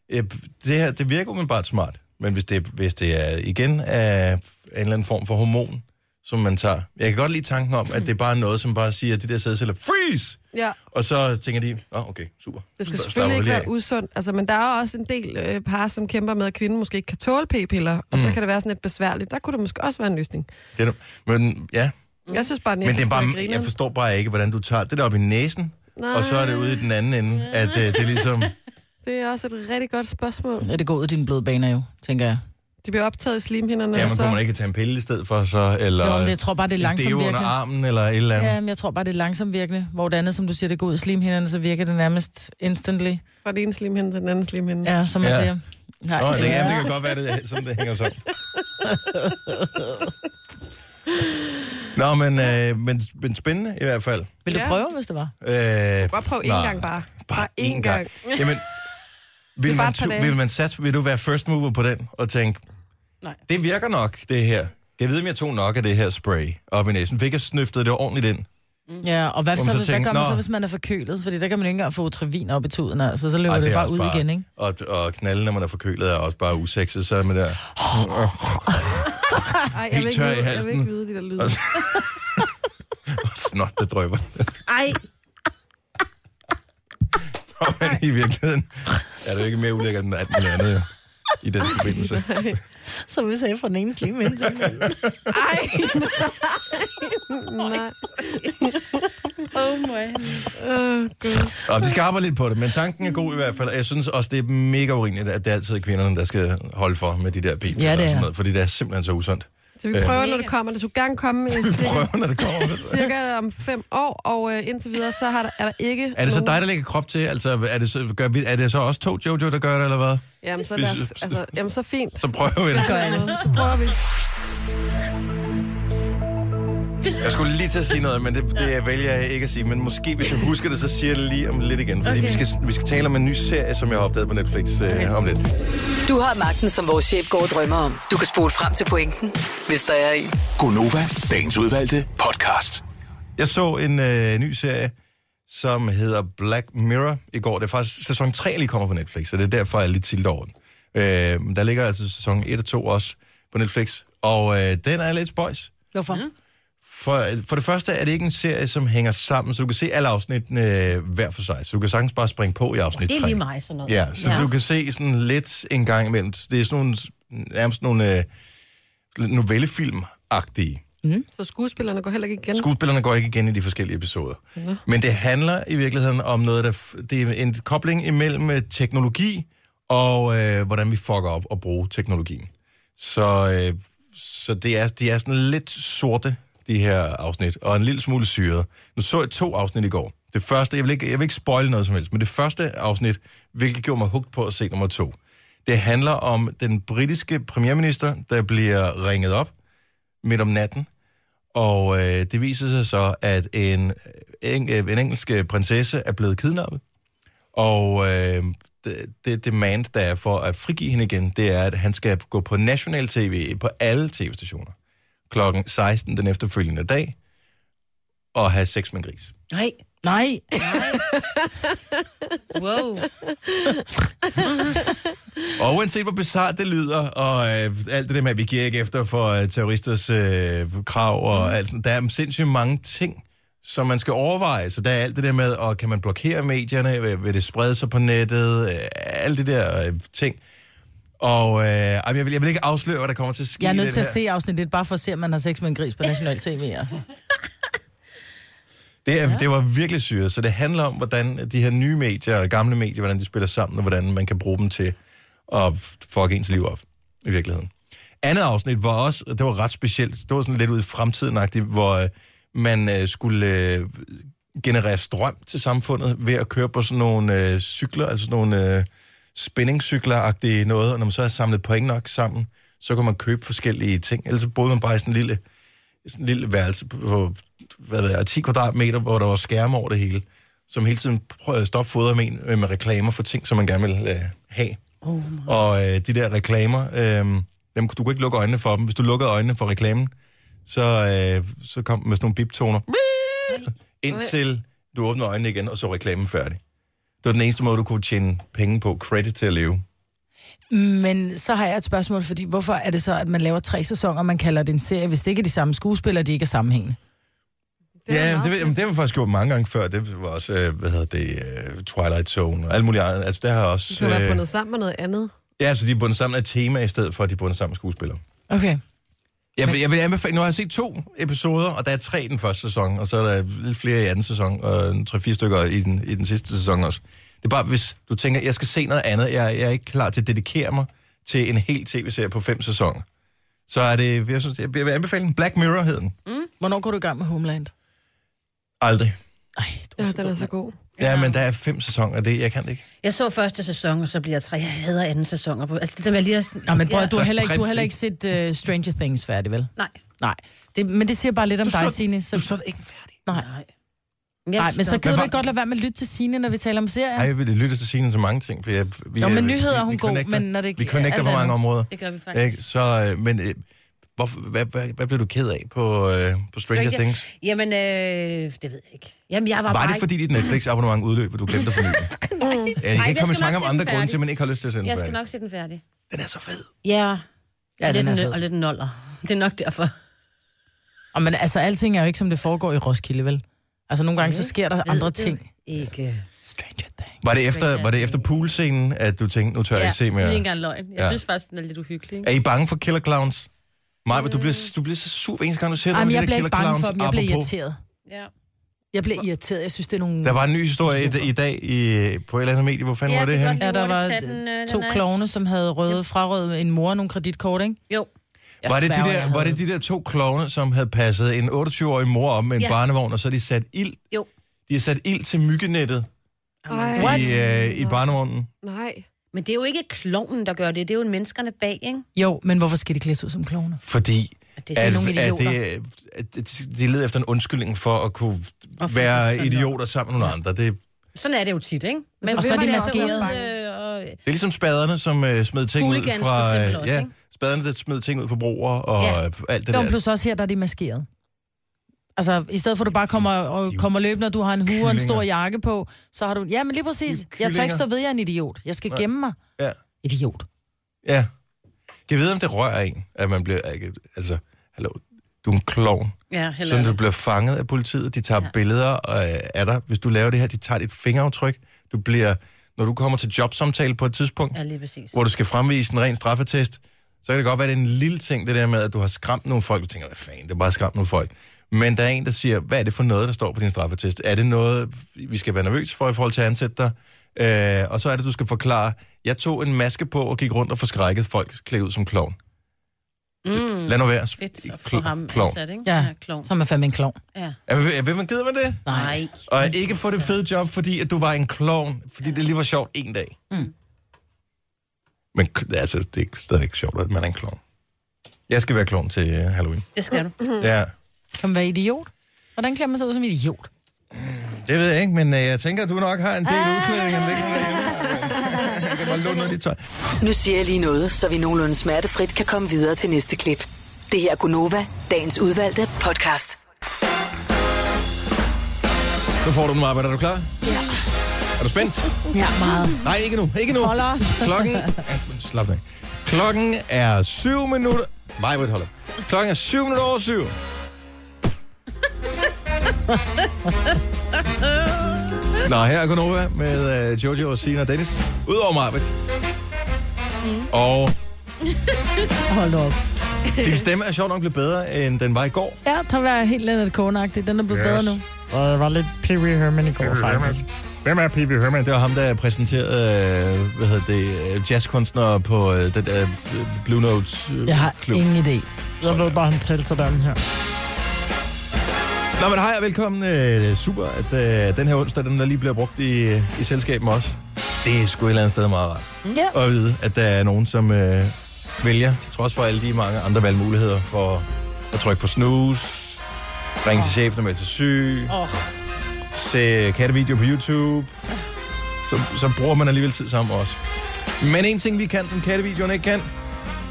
S1: øh, det her, det virker umiddelbart smart. Men hvis det, hvis det er igen af en eller anden form for hormon, som man tager. Jeg kan godt lide tanken om, at det er bare noget, som bare siger, at de der sædceller, freeze!
S4: ja.
S1: Og så tænker de, ah, okay, super.
S4: Det skal
S1: Så slapper
S4: selvfølgelig
S1: vi
S4: ikke
S1: lige
S4: være usundt, altså, men der er også en del øh, par, som kæmper med, at kvinden måske ikke kan tåle p-piller,
S1: Mm.
S4: og så kan det være sådan lidt besværligt. Der kunne det måske også være en løsning.
S1: af. Det er du- Men ja,
S4: Jeg synes bare, at
S1: men det er bare,
S4: grineren.
S1: jeg forstår bare ikke, hvordan du tager det der op i næsen, Nej. og så er det ude i den anden ende, at øh, det er ligesom...
S4: Det er også et rigtig godt spørgsmål.
S3: Ja, det går ud af dine blodbaner jo, tænker jeg.
S4: De bliver optaget i slimhinderne,
S1: Ja,
S4: og
S1: man
S4: så...
S1: kunne man ikke tage en pille i stedet for, så, eller...
S3: altså- Jo, men jeg tror bare, det er
S1: en
S3: langsomt
S1: deo under
S3: virkende.
S1: armen, eller et eller andet.
S3: Ja, men jeg tror bare, det er langsomt virkende. Hvor det andet, som du siger, det går ud i slimhinderne, så virker det nærmest instantly.
S4: Fra det ene slimhinde til den anden slimhinde. Ja.
S3: Ja, som man
S1: Ja.
S3: ja. siger. Nej,
S1: Nå, det, ja. det kan
S3: <laughs>
S1: godt være, det er sådan, det hænger sammen. Nå, men, øh, men, men spændende i hvert fald.
S3: Vil du
S4: Ja.
S3: prøve, hvis det var?
S1: Øh,
S4: Bare prøv én
S1: nej,
S4: gang bare.
S1: Bare én gang.
S4: <laughs>
S1: Jamen,
S4: Det
S1: vil
S4: er bare
S1: man,
S4: et par
S1: tu-
S4: dage.
S1: vil, man satse, vil du være first mover på den og tænke,
S8: Nej.
S1: det virker nok, det her. Jeg ved, om jeg tog nok af det her spray op i næsen. Fik jeg snøftet det ordentligt ind?
S3: Ja, og hvad,
S1: Hvor
S3: så,
S1: man så
S3: hvis, hvad
S1: tænker,
S3: gør man så,
S1: "Nå."
S3: hvis man er forkølet? Fordi der kan man jo ikke engang få utrevin op i tuden, altså. Så løber
S1: Ej,
S3: det,
S1: er
S3: bare
S1: også
S3: ud igen, ikke?
S1: Og, og knalde, når man er forkølet, er også bare usexet. Så er
S3: <laughs>
S1: man der.
S4: <laughs> Ej, jeg
S1: Helt
S4: vil, ikke
S1: tør i
S4: vide, jeg
S1: halsen.
S4: vil ikke vide de der lyde.
S1: Altså- snot, der drøber.
S2: Ej,
S1: Og man i virkeligheden er det jo ikke mere ulækkert end alt muligt andet, jo, i den
S3: <laughs>
S1: forbindelse.
S3: Så vi sagde fra den ene slime ind til den anden.
S4: Ej, nej. nej.
S2: oh my.
S4: Åh, Gud.
S1: Og de skal arbejde lidt på det, men tanken er god i hvert fald. Og Jeg synes også, det er mega urimeligt, at det altid er kvinderne, der skal holde for med de der p
S3: Ja, det er.
S1: Noget, fordi det er simpelthen så usundt.
S4: Så vi
S1: Øh.
S4: prøver, når det kommer. Det skulle gerne
S1: <laughs>
S4: komme i cirka,
S1: Prøv, når det kommer.
S4: cirka om fem år, og øh, indtil videre, så har der, er der ikke
S1: Er det så
S4: nogen-
S1: dig, der lægger krop til? Altså, er det så, gør vi, er det så også to Jojo, der gør det, eller hvad?
S4: Jamen, så, lad os, altså, jamen, så fint.
S1: Så prøver vi det.
S3: Gør jeg det.
S4: Så prøver vi.
S1: Jeg skulle lige til at sige noget, men det, det vælger jeg ikke at sige. Men måske, hvis jeg husker det, så siger jeg det lige om lidt igen. Fordi okay. vi, skal, vi skal tale om en ny serie, som jeg har opdaget på Netflix øh, om lidt.
S5: Du har magten, som vores chef går og drømmer om. Du kan spole frem til pointen, hvis der er en.
S6: Gonova, dagens udvalgte podcast.
S1: Jeg så en øh, ny serie, som hedder Black Mirror i går. Det er faktisk sæson 3, der lige kommer på Netflix, så det er derfor, jeg er lidt tiltet over den. Øh, men der ligger altså sæson 1 og 2 også på Netflix, og øh, den er lidt spøjs.
S3: Hvorfor? Mm.
S1: For, for det første er det ikke en serie, som hænger sammen, så du kan se alle afsnittene øh, hver for sig. Så du kan sagtens bare springe på i afsnit
S2: Det
S1: 3.
S2: er lige mig, sådan noget.
S1: Ja, så ja. du kan se sådan lidt en gang imellem. Det er sådan nogle, nærmest nogle øh, novellefilm-agtige.
S4: Så skuespillerne går heller ikke igen.
S1: Skuespillerne går ikke igen i de forskellige episoder. Ja. Men det handler i virkeligheden om noget, der f- det er en kobling imellem øh, teknologi og øh, hvordan vi fucker op og bruger teknologien. Så, øh, så det er, de er sådan lidt sorte, de her afsnit, og en lille smule syret. Nu så jeg to afsnit i går. Det første, jeg vil ikke, jeg vil ikke spoil noget som helst, men det første afsnit, hvilket gjorde mig hugt på at se nummer to, det handler om den britiske premierminister, der bliver ringet op midt om natten, og øh, det viser sig så, at en, en, øh, en engelsk prinsesse er blevet kidnappet. Og øh, det, det demand, der er for at frigive hende igen, det er, at han skal gå på national tv, på alle tv-stationer, klokken 16 den efterfølgende dag, og have sex med en gris.
S2: Nej.
S3: Nej.
S2: Wow.
S1: Og uanset hvor bizart det lyder, og øh, alt det der med, at vi giver ikke efter for øh, terroristers øh, krav, og mm. alt, sådan, der er sindssygt mange ting, som man skal overveje. Så der er alt det der med, og kan man blokere medierne, vil, vil det sprede sig på nettet, øh, alle de der øh, ting. Og øh, ej, men jeg, vil, jeg vil ikke afsløre, hvad der kommer til at ske.
S3: Jeg er
S1: i
S3: nødt
S1: den
S3: til at
S1: her.
S3: se afsnit lidt, bare for at se, om man har sex med en gris på national tv. Altså.
S1: Det, er, ja. det var virkelig syret, så det handler om, hvordan de her nye medier og gamle medier, hvordan de spiller sammen, og hvordan man kan bruge dem til at f- fuck ens liv op, i virkeligheden. Andet afsnit var også, det var ret specielt, det var sådan lidt ud i fremtiden hvor øh, man øh, skulle øh, generere strøm til samfundet ved at køre på sådan nogle øh, cykler, altså sådan nogle øh, spinningcykler-agtige noget, og når man så har samlet point nok sammen, så kan man købe forskellige ting, ellers så boede man bare i sådan en lille sådan en lille værelse på hvad ved jeg, 10 kvadratmeter, hvor der var skærme over det hele, som hele tiden prøvede at stoppe fodret med, en, øh, med reklamer for ting, som man gerne ville øh, have. Oh og øh, de der reklamer, øh, dem, du kunne ikke lukke øjnene for dem. Hvis du lukkede øjnene for reklamen, så, øh, så kom den med sådan nogle biptoner.
S4: <laughs>
S1: Indtil du åbnede øjnene igen, og så reklamen færdig. Det var den eneste måde, du kunne tjene penge på, credit til at leve.
S3: Men så har jeg et spørgsmål, fordi hvorfor er det så, at man laver tre sæsoner, man kalder det en serie, hvis det ikke er de samme skuespillere, de ikke er sammenhængende?
S1: Det ja, det, ved- jamen, det har vi faktisk gjort mange gange før. Det var også, øh, hvad hedder det, øh, Twilight Zone og alt muligt andet. Altså, det har også...
S4: Du kan være
S1: øh,
S4: bundet sammen med noget andet.
S1: Ja, så de er bundet sammen af et tema, i stedet for at de er bundet sammen af skuespillere.
S3: Okay.
S1: Jeg vil, jeg vil anbefale, nu har jeg set to episoder, og der er tre i den første sæson, og så er der lidt flere i anden sæson, og en tre-fire stykker i den, i den sidste sæson også. Det er bare, hvis du tænker, jeg skal se noget andet, jeg, jeg er ikke klar til at dedikere mig til en hel tv-serie på fem sæsoner, så er det, jeg, synes, jeg vil anbefale den. Black
S3: Mm.
S1: Mirror hed den.
S3: Hvornår går du i gang med Homeland?
S1: Aldrig.
S3: Ej, du
S4: Ja,
S3: er så
S4: den
S3: dum,
S4: er så
S3: mand.
S4: god.
S1: Ja, men der er fem sæsoner, det jeg kan det ikke.
S2: Jeg så første sæson, og så bliver jeg tre. Jeg hader anden sæson. Og på. Altså, det der med lige at...
S3: Nå, men prøv, at- du, har
S1: Så
S3: heller ikke, du har heller ikke
S1: princip-
S3: set uh, Stranger Things færdig, vel?
S2: Nej.
S3: Nej. Det, men det siger bare lidt om
S1: Du så-
S3: dig, Signe.
S1: Du
S3: Så,
S1: så det ikke færdig.
S3: nej.
S2: Men
S3: nej, men så
S2: stopper.
S3: gider du
S1: Men
S3: ikke godt lade være med at lytte til Signe, når vi taler om serier.
S1: Ej, jeg vil lytte til sine så mange ting, for jeg, vi,
S3: Nå, men
S1: vi-
S3: nyheder er
S1: vi-
S3: hun
S1: vi
S3: god,
S1: connecter.
S3: men når det
S1: Vi
S3: ikke-
S1: connecter
S3: alt
S1: på mange
S3: andet-
S1: områder.
S2: Det gør vi faktisk.
S1: Ikke? Så, øh, men øh, hvorfor, hvad, hvad, hvad blev du ked af på, øh, på Stranger
S2: Stranger-
S1: Things?
S2: Jamen, øh, det ved jeg ikke. Jamen, jeg var,
S1: Var
S2: bare
S1: det fordi dit
S2: <laughs>
S1: Netflix-abonnement udløb, og du glemte at forny det? Ja, jeg
S2: Nej,
S1: kan
S2: jeg
S1: ikke komme i
S2: skal
S1: tanke om
S2: nok se
S1: andre
S2: den
S1: grunde
S2: færdig.
S1: til, at man ikke har lyst til at sende
S2: Jeg
S1: den.
S2: skal nok se den færdig.
S1: Den er så fed.
S2: Ja,
S3: Ja,
S2: og,
S3: den er
S2: lidt, nø-
S3: fed.
S2: og lidt noller. Det er nok derfor.
S3: Og men altså, alting er jo ikke, som det foregår i Roskilde, vel? Altså, nogle gange, så sker der
S2: Ved
S3: andre
S2: du
S3: ting.
S2: Ikke.
S3: Stranger Things.
S1: Var det efter,
S2: Stranger
S1: var det efter poolscenen, at du tænkte, nu tør jeg ikke se
S2: det er ikke
S1: mere?
S2: engang løgn. Jeg
S1: Ja.
S2: ja. synes faktisk, den er lidt uhyggelig. Ikke?
S1: Er I bange for Killer Clowns? Maja, du bliver, du bliver så sur hver eneste gang, du ser
S3: Jamen,
S1: det
S3: jeg blev ikke bange for dem. Jeg blev irriteret.
S2: Ja.
S3: Jeg blev irriteret. Jeg synes, det er nogle...
S1: Der var en ny historie i, i dag i, på et eller andet medie. Hvor fanden
S2: Ja,
S1: var det
S2: jeg kan
S1: her?
S2: godt
S3: Ja, der
S2: Hurtigt
S3: var
S2: tage den, øh,
S3: to
S2: den er-
S3: klovne, som havde røde, frarøvet en mor og nogle kreditkort, ikke?
S2: Jo.
S3: Jeg
S1: Var det, de
S3: sværger, jeg
S1: der,
S3: havde
S1: var det de der to klovne, som havde passet en 28-årig mor om med en ja.
S2: Ja.
S1: barnevogn, og så har de sat ild?
S2: Jo.
S1: De har sat ild til myggenettet
S4: Ej,
S1: i, øh, i barnevognen.
S4: Nej.
S2: Men det er jo ikke klovnen, der gør det. Det er jo menneskerne bag, ikke?
S3: Jo, men hvorfor skal de klædes ud som klovne?
S1: Fordi
S2: Og Det er
S1: at,
S2: sådan nogle
S3: nogle
S1: at,
S3: idioter.
S1: det, at de leder efter en undskyldning for at kunne
S2: Og for-
S1: være
S2: for-
S1: idioter sammen med nogle andre. Det,
S2: Sådan er det jo tit, ikke? Men,
S3: Og så er
S2: hvem
S3: de
S2: det, der
S3: maskeret.
S2: ved, øh, og-
S1: Det er ligesom spaderne, som øh, smed ting ud
S2: Hooligans for
S1: fra... øh,
S2: eksempel også,
S1: ja,
S2: ikke?
S1: spaderne, der smed ting ud fra broer og
S2: Ja.
S1: ja. alt det
S3: Jo,
S1: der.
S3: men plus også her, der er de maskeret. Altså, i stedet for, at du bare kommer, og
S1: jo
S3: kommer løbende, og du har en hue og en stor
S1: kyllinger.
S3: jakke på, så har du... Ja, men lige
S1: De
S3: præcis.
S1: er
S3: Jeg tør ikke
S1: kyllinger.
S3: stå ved, jeg er en idiot. Jeg skal
S1: Nej.
S3: gemme mig.
S1: Ja.
S3: Idiot.
S1: Ja. Kan jeg vide, om det rører en, at man bliver... Altså, hallo, du er en klovn.
S2: Ja, heller
S1: Sådan, du bliver fanget af politiet. De tager ja. billeder øh, af dig. Hvis du laver det her, de tager dit fingeraftryk. Du bliver... Når du kommer til jobsamtale på et tidspunkt,
S2: Ja, lige præcis.
S1: hvor du skal fremvise en ren straffetest, så kan det godt være, at det er en lille ting, det der med, at du har skræmt nogle folk. Du tænker, hvad fanden, det er bare skræmt nogle folk. Men der er en, der siger, hvad er det for noget, der står på din straffetest? Er det noget, vi skal være nervøs for i forhold til at ansætte dig? Øh, og så er det, du skal forklare, jeg tog en maske på og gik rundt og forskrækkede folk klædt ud som klovn. Mm. Lad nu være.
S2: Fedt at få
S1: Kl-
S2: ham
S1: klovn.
S2: ansat, ikke?
S3: Ja.
S2: klovn.
S3: Så er man fandme en klovn.
S2: Ja.
S1: Er man, vil man gider man det?
S2: Nej.
S1: Og ikke få det fede job, fordi at du var en klovn, fordi det lige var sjovt en dag. Mm. Men k- altså, det er ikke- stadigvæk sjovt, at man er en klovn. Jeg skal være klovn til øh, Halloween.
S2: Det skal du.
S1: Mm. Ja,
S3: Mm-hmm. Kan man være idiot? Hvordan klæder man sig ud
S1: <laughs>
S3: som idiot?
S1: det ved jeg ikke, men øh, jeg tænker, at du nok har en del udklædning. om det kan være hjemme. Det var låne noget af dit tøj.
S5: Nu siger jeg lige noget, så vi nogenlunde smertefrit kan komme videre til næste klip. Det her er Gunova, dagens udvalgte podcast.
S1: Nu får du den, arbejde. Er du klar? Ja. Er du spændt?
S3: Ja, meget.
S1: Nej, ikke nu. Ikke nu.
S3: Holder.
S1: Klokken... Ja, men Slap af. Klokken er syv minutter... Nej, hvor holder. Klokken er syv minutter over syv. Nå, her er Gunova med uh, Jojo og Sina og Dennis. Udover Marvitt. Mm. Og
S3: Hold op.
S1: din stemme er sjovt nok blevet bedre, end den var i går.
S3: Ja, der var jeg helt Leonard Cohen-agtig. Den er blevet yes. bedre nu.
S8: Og jeg var lidt Pee Wee Herman i går, faktisk.
S1: Hvem er P.B. Herman? Det var ham, der præsenterede øh, hvad hedder det, øh, jazzkunstnere på øh, den der øh, Blue Notes øh,
S3: Jeg har
S1: klub.
S3: ingen idé.
S8: Jeg ved bare, han talte sådan her.
S1: Nå, men hej og velkommen. Øh, super, at øh, den her onsdag, den der lige bliver brugt i, øh, i selskabet med os. Det er sgu et eller andet sted meget rart.
S3: Ja.
S1: Og at vide, at der er nogen, som øh, vælger, til trods for alle de mange andre valgmuligheder, for at trykke på snooze, ringe til chefen, med til syg,
S2: Åh.
S1: se kattevideoer på YouTube. Så, så bruger man alligevel tid sammen med os. Men en ting, vi kan, som kattevideoerne ikke kan,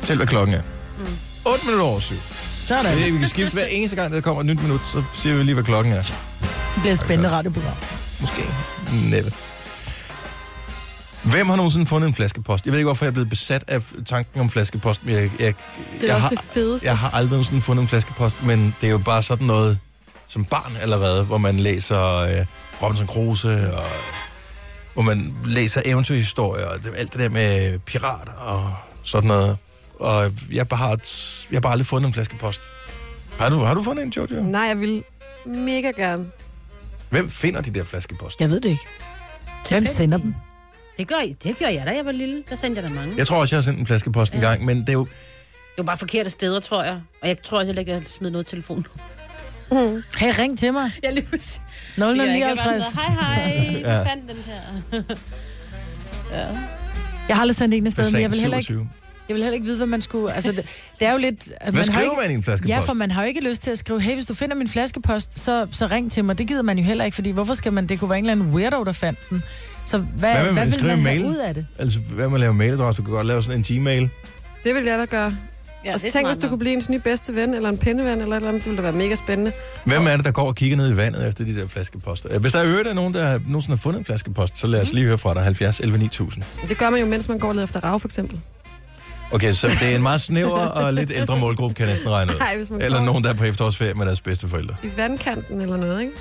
S1: selv hvad klokken er. Mm. 8 minutter over syv.
S3: Sådan.
S1: Det er- Vi kan skifte hver eneste gang, der kommer et nyt minut, så siger vi lige, hvad klokken er.
S3: Det bliver et spændende radioprogram.
S1: Måske. Næppe. Hvem har nogensinde fundet en flaskepost? Jeg ved ikke, hvorfor jeg er blevet besat af tanken om flaskepost, men jeg, jeg,
S4: Det er
S1: jeg,
S4: nok
S1: har,
S4: det fedeste.
S1: jeg har aldrig nogensinde fundet en flaskepost, men det er jo bare sådan noget som barn allerede, hvor man læser øh, Robinson Crusoe, og hvor man læser eventyrhistorier, og det, alt det der med pirater og sådan noget. Og jeg, bare har, et- jeg har bare aldrig fundet en flaskepost. Har du, har du fundet en, Jojo?
S4: Nej, jeg vil mega gerne.
S1: Hvem finder de der flaskeposter?
S3: Jeg ved det ikke. Hvem sender dem?
S2: Det gør, det gjorde jeg da, jeg var lille. Der sendte jeg da mange.
S1: Jeg tror også, jeg har sendt en flaskepost en gang, men det er jo...
S2: Det var bare forkerte steder, tror jeg. Og jeg tror også, jeg lægger smidt noget telefon.
S3: Hey, ring til mig.
S2: Jeg Mm. lige pludselig- Jeg kan bare
S3: 0059.
S2: sådan, Hej, hej, jeg fandt den her.
S3: Jeg har aldrig sendt en
S1: Det
S3: afsted, men jeg vil heller ikke, jeg vil heller ikke vide, hvad man skulle... Altså, det, det er jo lidt...
S1: Hvad
S3: at man har
S1: skriver
S3: ikke,
S1: man i en flaske
S3: Ja,
S1: post?
S3: for man har jo ikke lyst til at skrive, hey, hvis du finder min flaskepost, så, så ring til mig. Det gider man jo heller ikke, fordi hvorfor skal man... Det kunne være en eller anden weirdo, der fandt den. Så hvad,
S1: Hvad
S3: hvad,
S1: vil man
S3: hvad vil
S1: skrive
S3: man
S1: i
S3: have
S1: mailen?
S3: ud af det?
S1: Altså, hvad man laver mailadresse, du kan godt lave sådan en Gmail.
S4: Det vil jeg da gøre.
S7: Ja,
S4: Ja, og
S7: det
S4: så
S7: er
S4: tænk,
S7: smart
S4: hvis du
S7: nok.
S4: kunne blive ens nye bedste ven, eller en pindeven, eller et eller andet. Det ville da være mega spændende.
S1: Hvem er det, der går og kigger ned i vandet efter de der flaskeposter? Øh, Hvis der i øvrigt er nogen, der har- nogensinde har fundet en flaskepost, så
S3: Mhm.
S1: lad os lige høre fra dig. 70 11 9000.
S4: Det gør man jo, mens man går lidt efter rav, for eksempel.
S1: Okay, så det er en meget snæver og lidt ældre målgruppe, kan jeg næsten
S3: <laughs>
S1: regne ud.
S4: Nej, hvis man
S1: Eller
S4: går
S1: nogen, der er på efterårsferie med deres bedsteforældre.
S4: i vandkanten eller noget, ikke?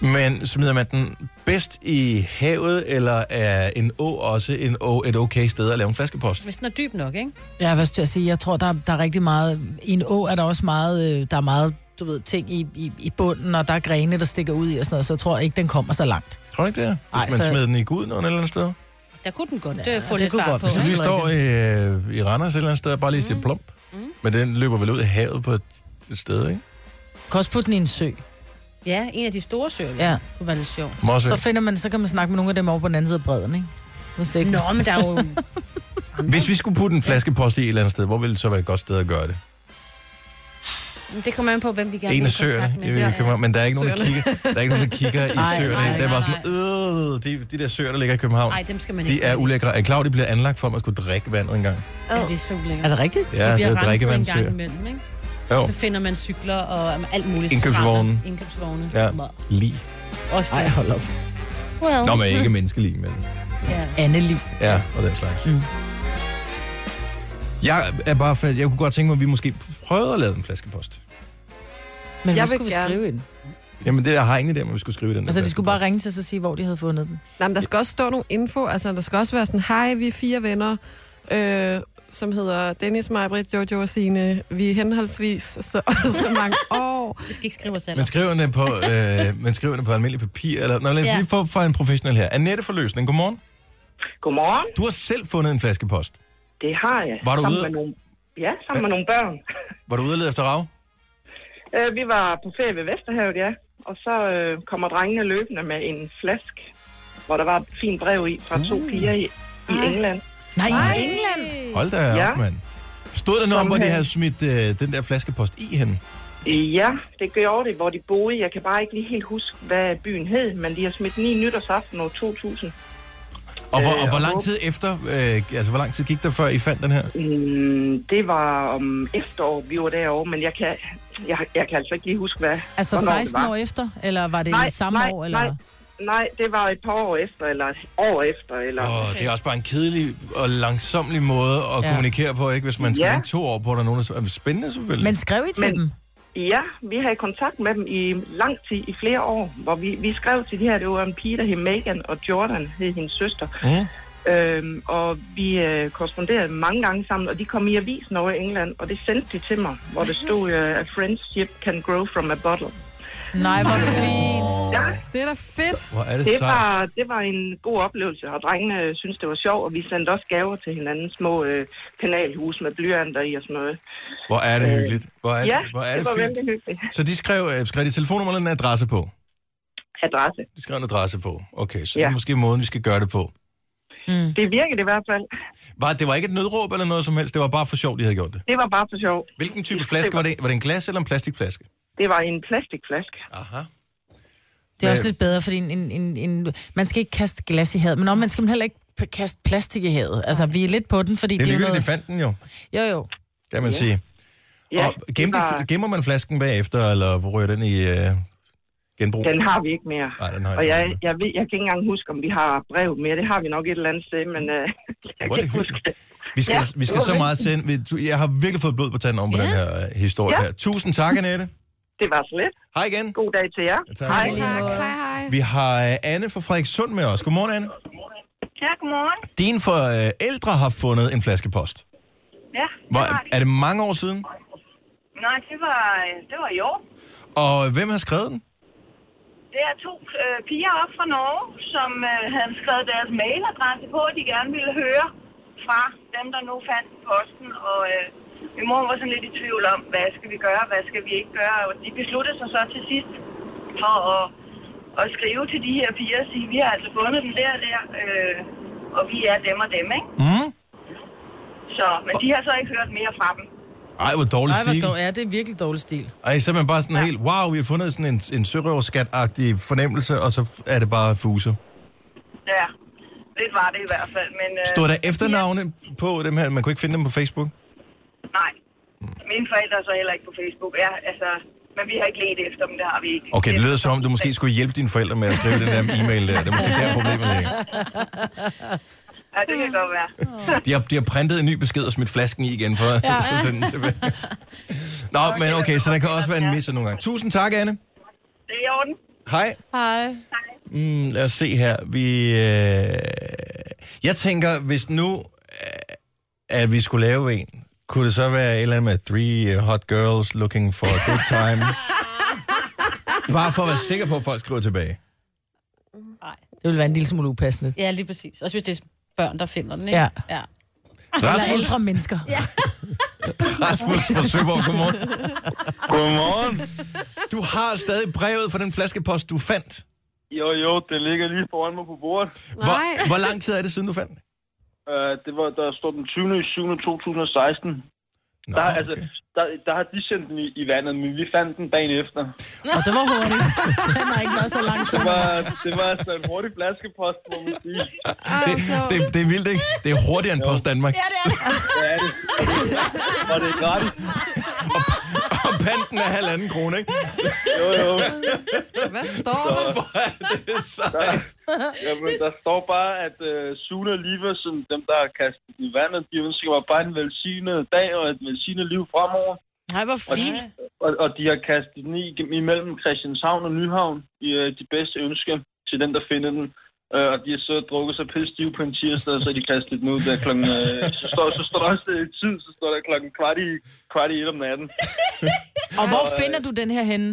S1: Men smider man den bedst i havet, eller er en å også en å, et okay sted at lave en flaskepost?
S2: Hvis den er dyb nok, ikke?
S3: Ja, hvad skal jeg sige? Jeg tror, der, der er rigtig meget... I en å er der også meget... øh, Der er meget du ved, ting i, i, i bunden, og der er grene, der stikker ud i og sådan noget, så jeg tror ikke, den kommer så langt.
S1: Tror du ikke det er? Hvis
S3: Ej,
S1: man
S3: så-
S1: smider den i guden eller et eller andet sted?
S2: Der kunne den godt
S3: Ja,
S2: ja, få
S3: det
S2: lidt
S3: kunne
S2: fart
S3: godt
S2: på.
S3: være.
S1: Hvis
S3: Så
S2: ikke?
S1: vi
S3: det er
S1: står i, i Randers et eller andet sted og bare lige siger plump, men den løber vel ud i havet på et et sted, ikke?
S3: Du kan også putte den i en sø.
S2: Ja, en af de store søer ja.
S3: Ja.
S2: kunne være lidt sjov.
S1: Mosse.
S3: Så finder man, så kan man snakke med nogle af dem over på den anden side af bredden, ikke? Hvis det ikke...
S2: Nå, men der
S3: <laughs>
S2: er jo...
S1: Hvis vi skulle putte en flaskepost i et eller andet sted, hvor ville det så være et godt sted at gøre det?
S2: Det kommer an på, hvem vi gerne
S1: en
S2: vil
S1: af
S2: i kontakt
S1: søerne,
S2: med.
S1: i ja, København, men der er ikke nogen, der
S4: Søerne.
S1: kigger,
S2: <laughs>
S1: der er ikke nogen, der kigger i
S3: Nej,
S1: søerne.
S2: nej,
S1: det er bare
S2: nej,
S1: sådan, øh, de, de der søer, der ligger i København,
S2: Nej, dem skal man
S1: de
S2: ikke.
S1: er ulækre. Er klar, de bliver anlagt for, at man skulle drikke vandet engang?
S2: Ja, det er så ulækkert.
S3: Er det rigtigt?
S1: Ja,
S2: det
S1: det
S2: bliver
S1: er
S2: renset en gang
S1: drikkevandssøer.
S2: imellem, ikke?
S1: Jo,
S2: Så finder man cykler og um, alt muligt.
S1: Indkøbsvogne.
S2: skrald. Indkøbsvogne.
S1: Ja. lige.
S2: Også
S3: Nej,
S2: det.
S3: hold op.
S2: Well,
S1: Nå, men ikke menneskelig, men
S2: ja.
S3: Anneliv.
S1: ja, og den slags.
S3: Mm.
S1: Jeg er bare fald, jeg kunne godt tænke mig, at vi måske prøvede at lave en flaskepost.
S3: Men
S4: Jeg
S3: hvad
S4: vil
S3: skulle vi
S4: gerne.
S3: skrive ind?
S1: Jamen, det jeg har egentlig der, men vi skulle skrive i den. her
S3: Altså, de skulle bare
S1: flaskepost.
S3: ringe til os og sige, hvor de havde fundet den.
S4: Nej, men der skal også stå nogle info. Altså, der skal også være sådan, hej, vi er fire venner, øh, som hedder Dennis, Majbrit, Jojo og Signe. Vi er henholdsvis så, <laughs> så mange år.
S2: Vi skal ikke skrive os selv.
S1: Men skriver den på, øh, men skriver den på almindelig papir? Eller, nå, lad os
S2: Ja.
S1: lige få fra en professionel her. Annette for løsning, godmorgen.
S9: Godmorgen,
S1: Du har selv fundet en flaskepost.
S9: det har jeg.
S1: Var du
S9: sammen
S1: ude?
S9: Med nogle, ja, sammen med nogle børn.
S1: Var du ude at lede efter rav?
S9: Øh, vi var på ferie ved Vesterhavet, ja. Og så øh, kommer drengene løbende med en flask, hvor der var et fint brev i fra to piger i, i England.
S3: Mm. Nej, i England.
S1: Hold da op,
S9: Ja.
S1: mand. Stod der noget om, hvor de
S9: Sammenhæng.
S1: havde smidt øh, den der flaskepost i hende?
S9: Ja, det gjorde det, hvor de boede. Jeg kan bare ikke lige helt huske, hvad byen hed, men de har smidt den i nytårsaften år 2000.
S1: Og hvor,
S9: Øh,
S1: og hvor
S9: og
S1: lang
S9: håb.
S1: tid efter, øh, altså hvor lang tid gik der, før I fandt den her?
S9: Mm, det var om efterår, vi var derovre, men jeg kan, jeg, jeg kan altså ikke lige huske, hvad
S3: Altså
S9: hvornår
S3: 16 år efter, eller var det nej, samme år? Eller?
S9: Nej, nej, det var et par år efter, eller et år efter. Eller...
S1: Og det er også bare en kedelig og langsomlig måde at ja.
S3: Ja.
S1: kommunikere på, ikke? Hvis man skal ja.
S9: Ja.
S1: vente to år på, at der er nogen, der... er Spændende selvfølgelig.
S3: Men skrev I til
S9: Men-
S3: dem?
S9: Ja, vi havde kontakt med dem i lang tid, i flere år, hvor vi, vi skrev til de her, det var en pige, der hed Megan, og Jordan hed hendes søster.
S1: Mm.
S9: Øhm, og vi øh, korresponderede mange gange sammen, og de kom i avisen over i England, og det sendte de til mig, hvor der stod, øh, a friendship can grow from a bottle.
S3: Nej, hvor fint.
S9: Ja,
S4: Det er da fedt.
S1: Hvor er det,
S9: det
S1: sejt.
S9: var, det var en god oplevelse, og drengene øh, syntes, det var sjovt, og vi sendte også gaver til hinanden, små øh, penalhus med blyanter i og sådan noget.
S1: Hvor er det hyggeligt. Hvor er,
S9: Øh, Ja,
S1: det, hvor er
S9: det
S1: det,
S9: var
S1: fint.
S9: vældig hyggeligt.
S1: Så de skrev, øh, skrev de telefonnummer eller en adresse på?
S9: Adresse.
S1: De skrev en adresse på. Okay, så ja.
S9: Ja.
S1: det er måske måden, vi skal gøre det på.
S9: Det virkede i hvert fald.
S1: Var, det var ikke et nødråb eller noget som helst, det var bare for sjovt, de havde gjort det.
S9: Det var bare for sjov.
S1: Hvilken type flaske var det? Var det en glas eller en plastikflaske?
S9: Det var en plastikflaske.
S1: Aha.
S3: Det er også
S1: Hvad-
S3: lidt bedre, fordi en, en, en, en, man skal ikke kaste glas i havet, men om man skal heller ikke p- kaste plastik i havet. Altså, vi er lidt på den, fordi
S1: Det er
S3: det, er jo
S1: lykkeligt, de
S3: noget...
S1: fandt den jo,
S3: Jo, jo.
S1: kan man sige.
S9: Ja,
S1: og gemmer,
S9: det
S1: var...
S9: var,
S1: gemmer man flasken bagefter, eller rører den i øh, genbrug?
S9: den har vi ikke mere.
S1: Nej, den har jeg
S9: Og
S1: ikke
S9: jeg,
S1: mere.
S9: jeg, ved, jeg kan ikke engang huske, om vi har brev mere. Det har vi nok et eller andet sted, men øh, jeg
S1: Hvor er
S9: kan
S1: det
S9: ikke huske det.
S1: Vi skal, ja,
S9: Ja,
S1: vi skal så
S9: okay.
S1: meget sende. vi- du- Jeg har virkelig fået blod på tanden om på ja. den her øh, historie
S9: Ja.
S1: ja. her. Tusind tak, Annette.
S9: Det var så lidt.
S1: Hej igen.
S9: God dag til jer.
S1: tak.
S9: Hej.
S4: Tak. Hej, hej.
S1: Vi har øh, Anne fra Frederikssund med os. Godmorgen, Anne.
S10: Ja, godmorgen.
S1: Dine forældre har fundet en flaskepost.
S10: Ja, det
S1: Hvor,
S10: var det.
S1: er det mange år siden?
S10: Nej, det var, øh, det var i år.
S1: Og øh, hvem har skrevet den?
S10: Det er to øh, piger op fra Norge, som øh, havde skrevet deres mailadresse på, at de gerne ville høre fra dem, der nu fandt posten. Og øh, Min mor var sådan lidt i tvivl om, hvad skal vi gøre, hvad skal vi ikke gøre. Og de besluttede sig så til sidst for at, at skrive til de her piger og sige, vi har altså fundet dem der og der, øh, og vi er dem og dem, ikke?
S1: Mm.
S10: Så, men de har så ikke hørt mere fra dem.
S1: Ej, hvor dårlig
S3: Nej,
S1: stil.
S3: hvor dårlig. Ja, det er virkelig dårlig stil.
S1: Ej, så er man bare sådan ja. helt, wow, vi har fundet sådan en, en sørøverskat-agtig fornemmelse, og så f- er det bare fuser.
S10: Ja, lidt var det i hvert fald. Men, øh,
S1: Stod der efternavne ja. på dem her? Man kunne ikke finde dem på Facebook?
S10: Nej. Mine forældre er så heller ikke på Facebook. Ja, altså, men vi har ikke let efter dem, det har vi ikke.
S1: Okay, det lyder som om, du måske skulle hjælpe dine forældre med at skrive den der e-mail der. Det er måske der problemet ligger.
S10: Ja, det kan godt være.
S1: De har, de har printet en ny besked og smidt flasken i igen for at
S10: Ja.
S1: ja. sende den tilbage. Nå, men okay, så der kan også være en misser nogle gange. Tusind tak, Anne.
S10: Det er i orden.
S1: Hej.
S10: Hej.
S1: Mm, lad os se her. Vi, øh... Jeg tænker, hvis nu, øh, at vi skulle lave en, kunne det så være et eller andet med Three øh, hot girls looking for a good
S3: <laughs>
S1: time? Bare for at være sikker på, at folk skriver tilbage.
S3: Det ville være en lille smule upassende.
S2: Ja, lige præcis. Også hvis det er børn, der finder den, ikke?
S3: Ja.
S2: ja.
S3: Eller ældre mennesker. Ja.
S1: <laughs> Rasmus fra Søborg, godmorgen.
S11: Godmorgen.
S1: Du har stadig brevet fra den flaskepost, du fandt.
S11: Jo, jo, det ligger lige foran mig på bordet.
S1: Hvor, hvor
S11: <laughs>
S1: lang tid er det siden, du fandt den?
S11: Uh, det var, der stod den 20. 7. 2016. Nå, der, okay. altså, der, der har de sendt den i, i vandet, men vi fandt den dagen efter.
S3: Og det var hurtigt. <laughs> Han har ikke været så lang tid.
S11: Det var, det var altså en hurtig flaskepost, må man sige.
S1: Det, det, det er vildt, ikke? Det er hurtigere end Post Danmark.
S11: Ja, det Og det er gratis.
S1: Og panten er halvanden krone, ikke?
S11: Jo, jo.
S4: Hvad står der?
S1: <laughs> Hvor er det sejt.
S11: Jamen, der står bare, at uh, Suna Liva, som dem, der har kastet den i vandet, de ønsker mig bare en velsignet dag og et velsignet liv fremover.
S3: Nej, hvor
S11: fint. Og, og de har kastet den i, imellem Christianshavn og Nyhavn i øh, de bedste ønsker til den, der finder den. Øh, og de har så drukket sig pisse stive på en tirsdag, og så har de kastet den ud der klokken... Øh, så, står, så står der også øh, tid, så står der klokken kvart i, kvart i et om natten.
S3: Og hvor
S11: Og, øh,
S3: finder du den her henne?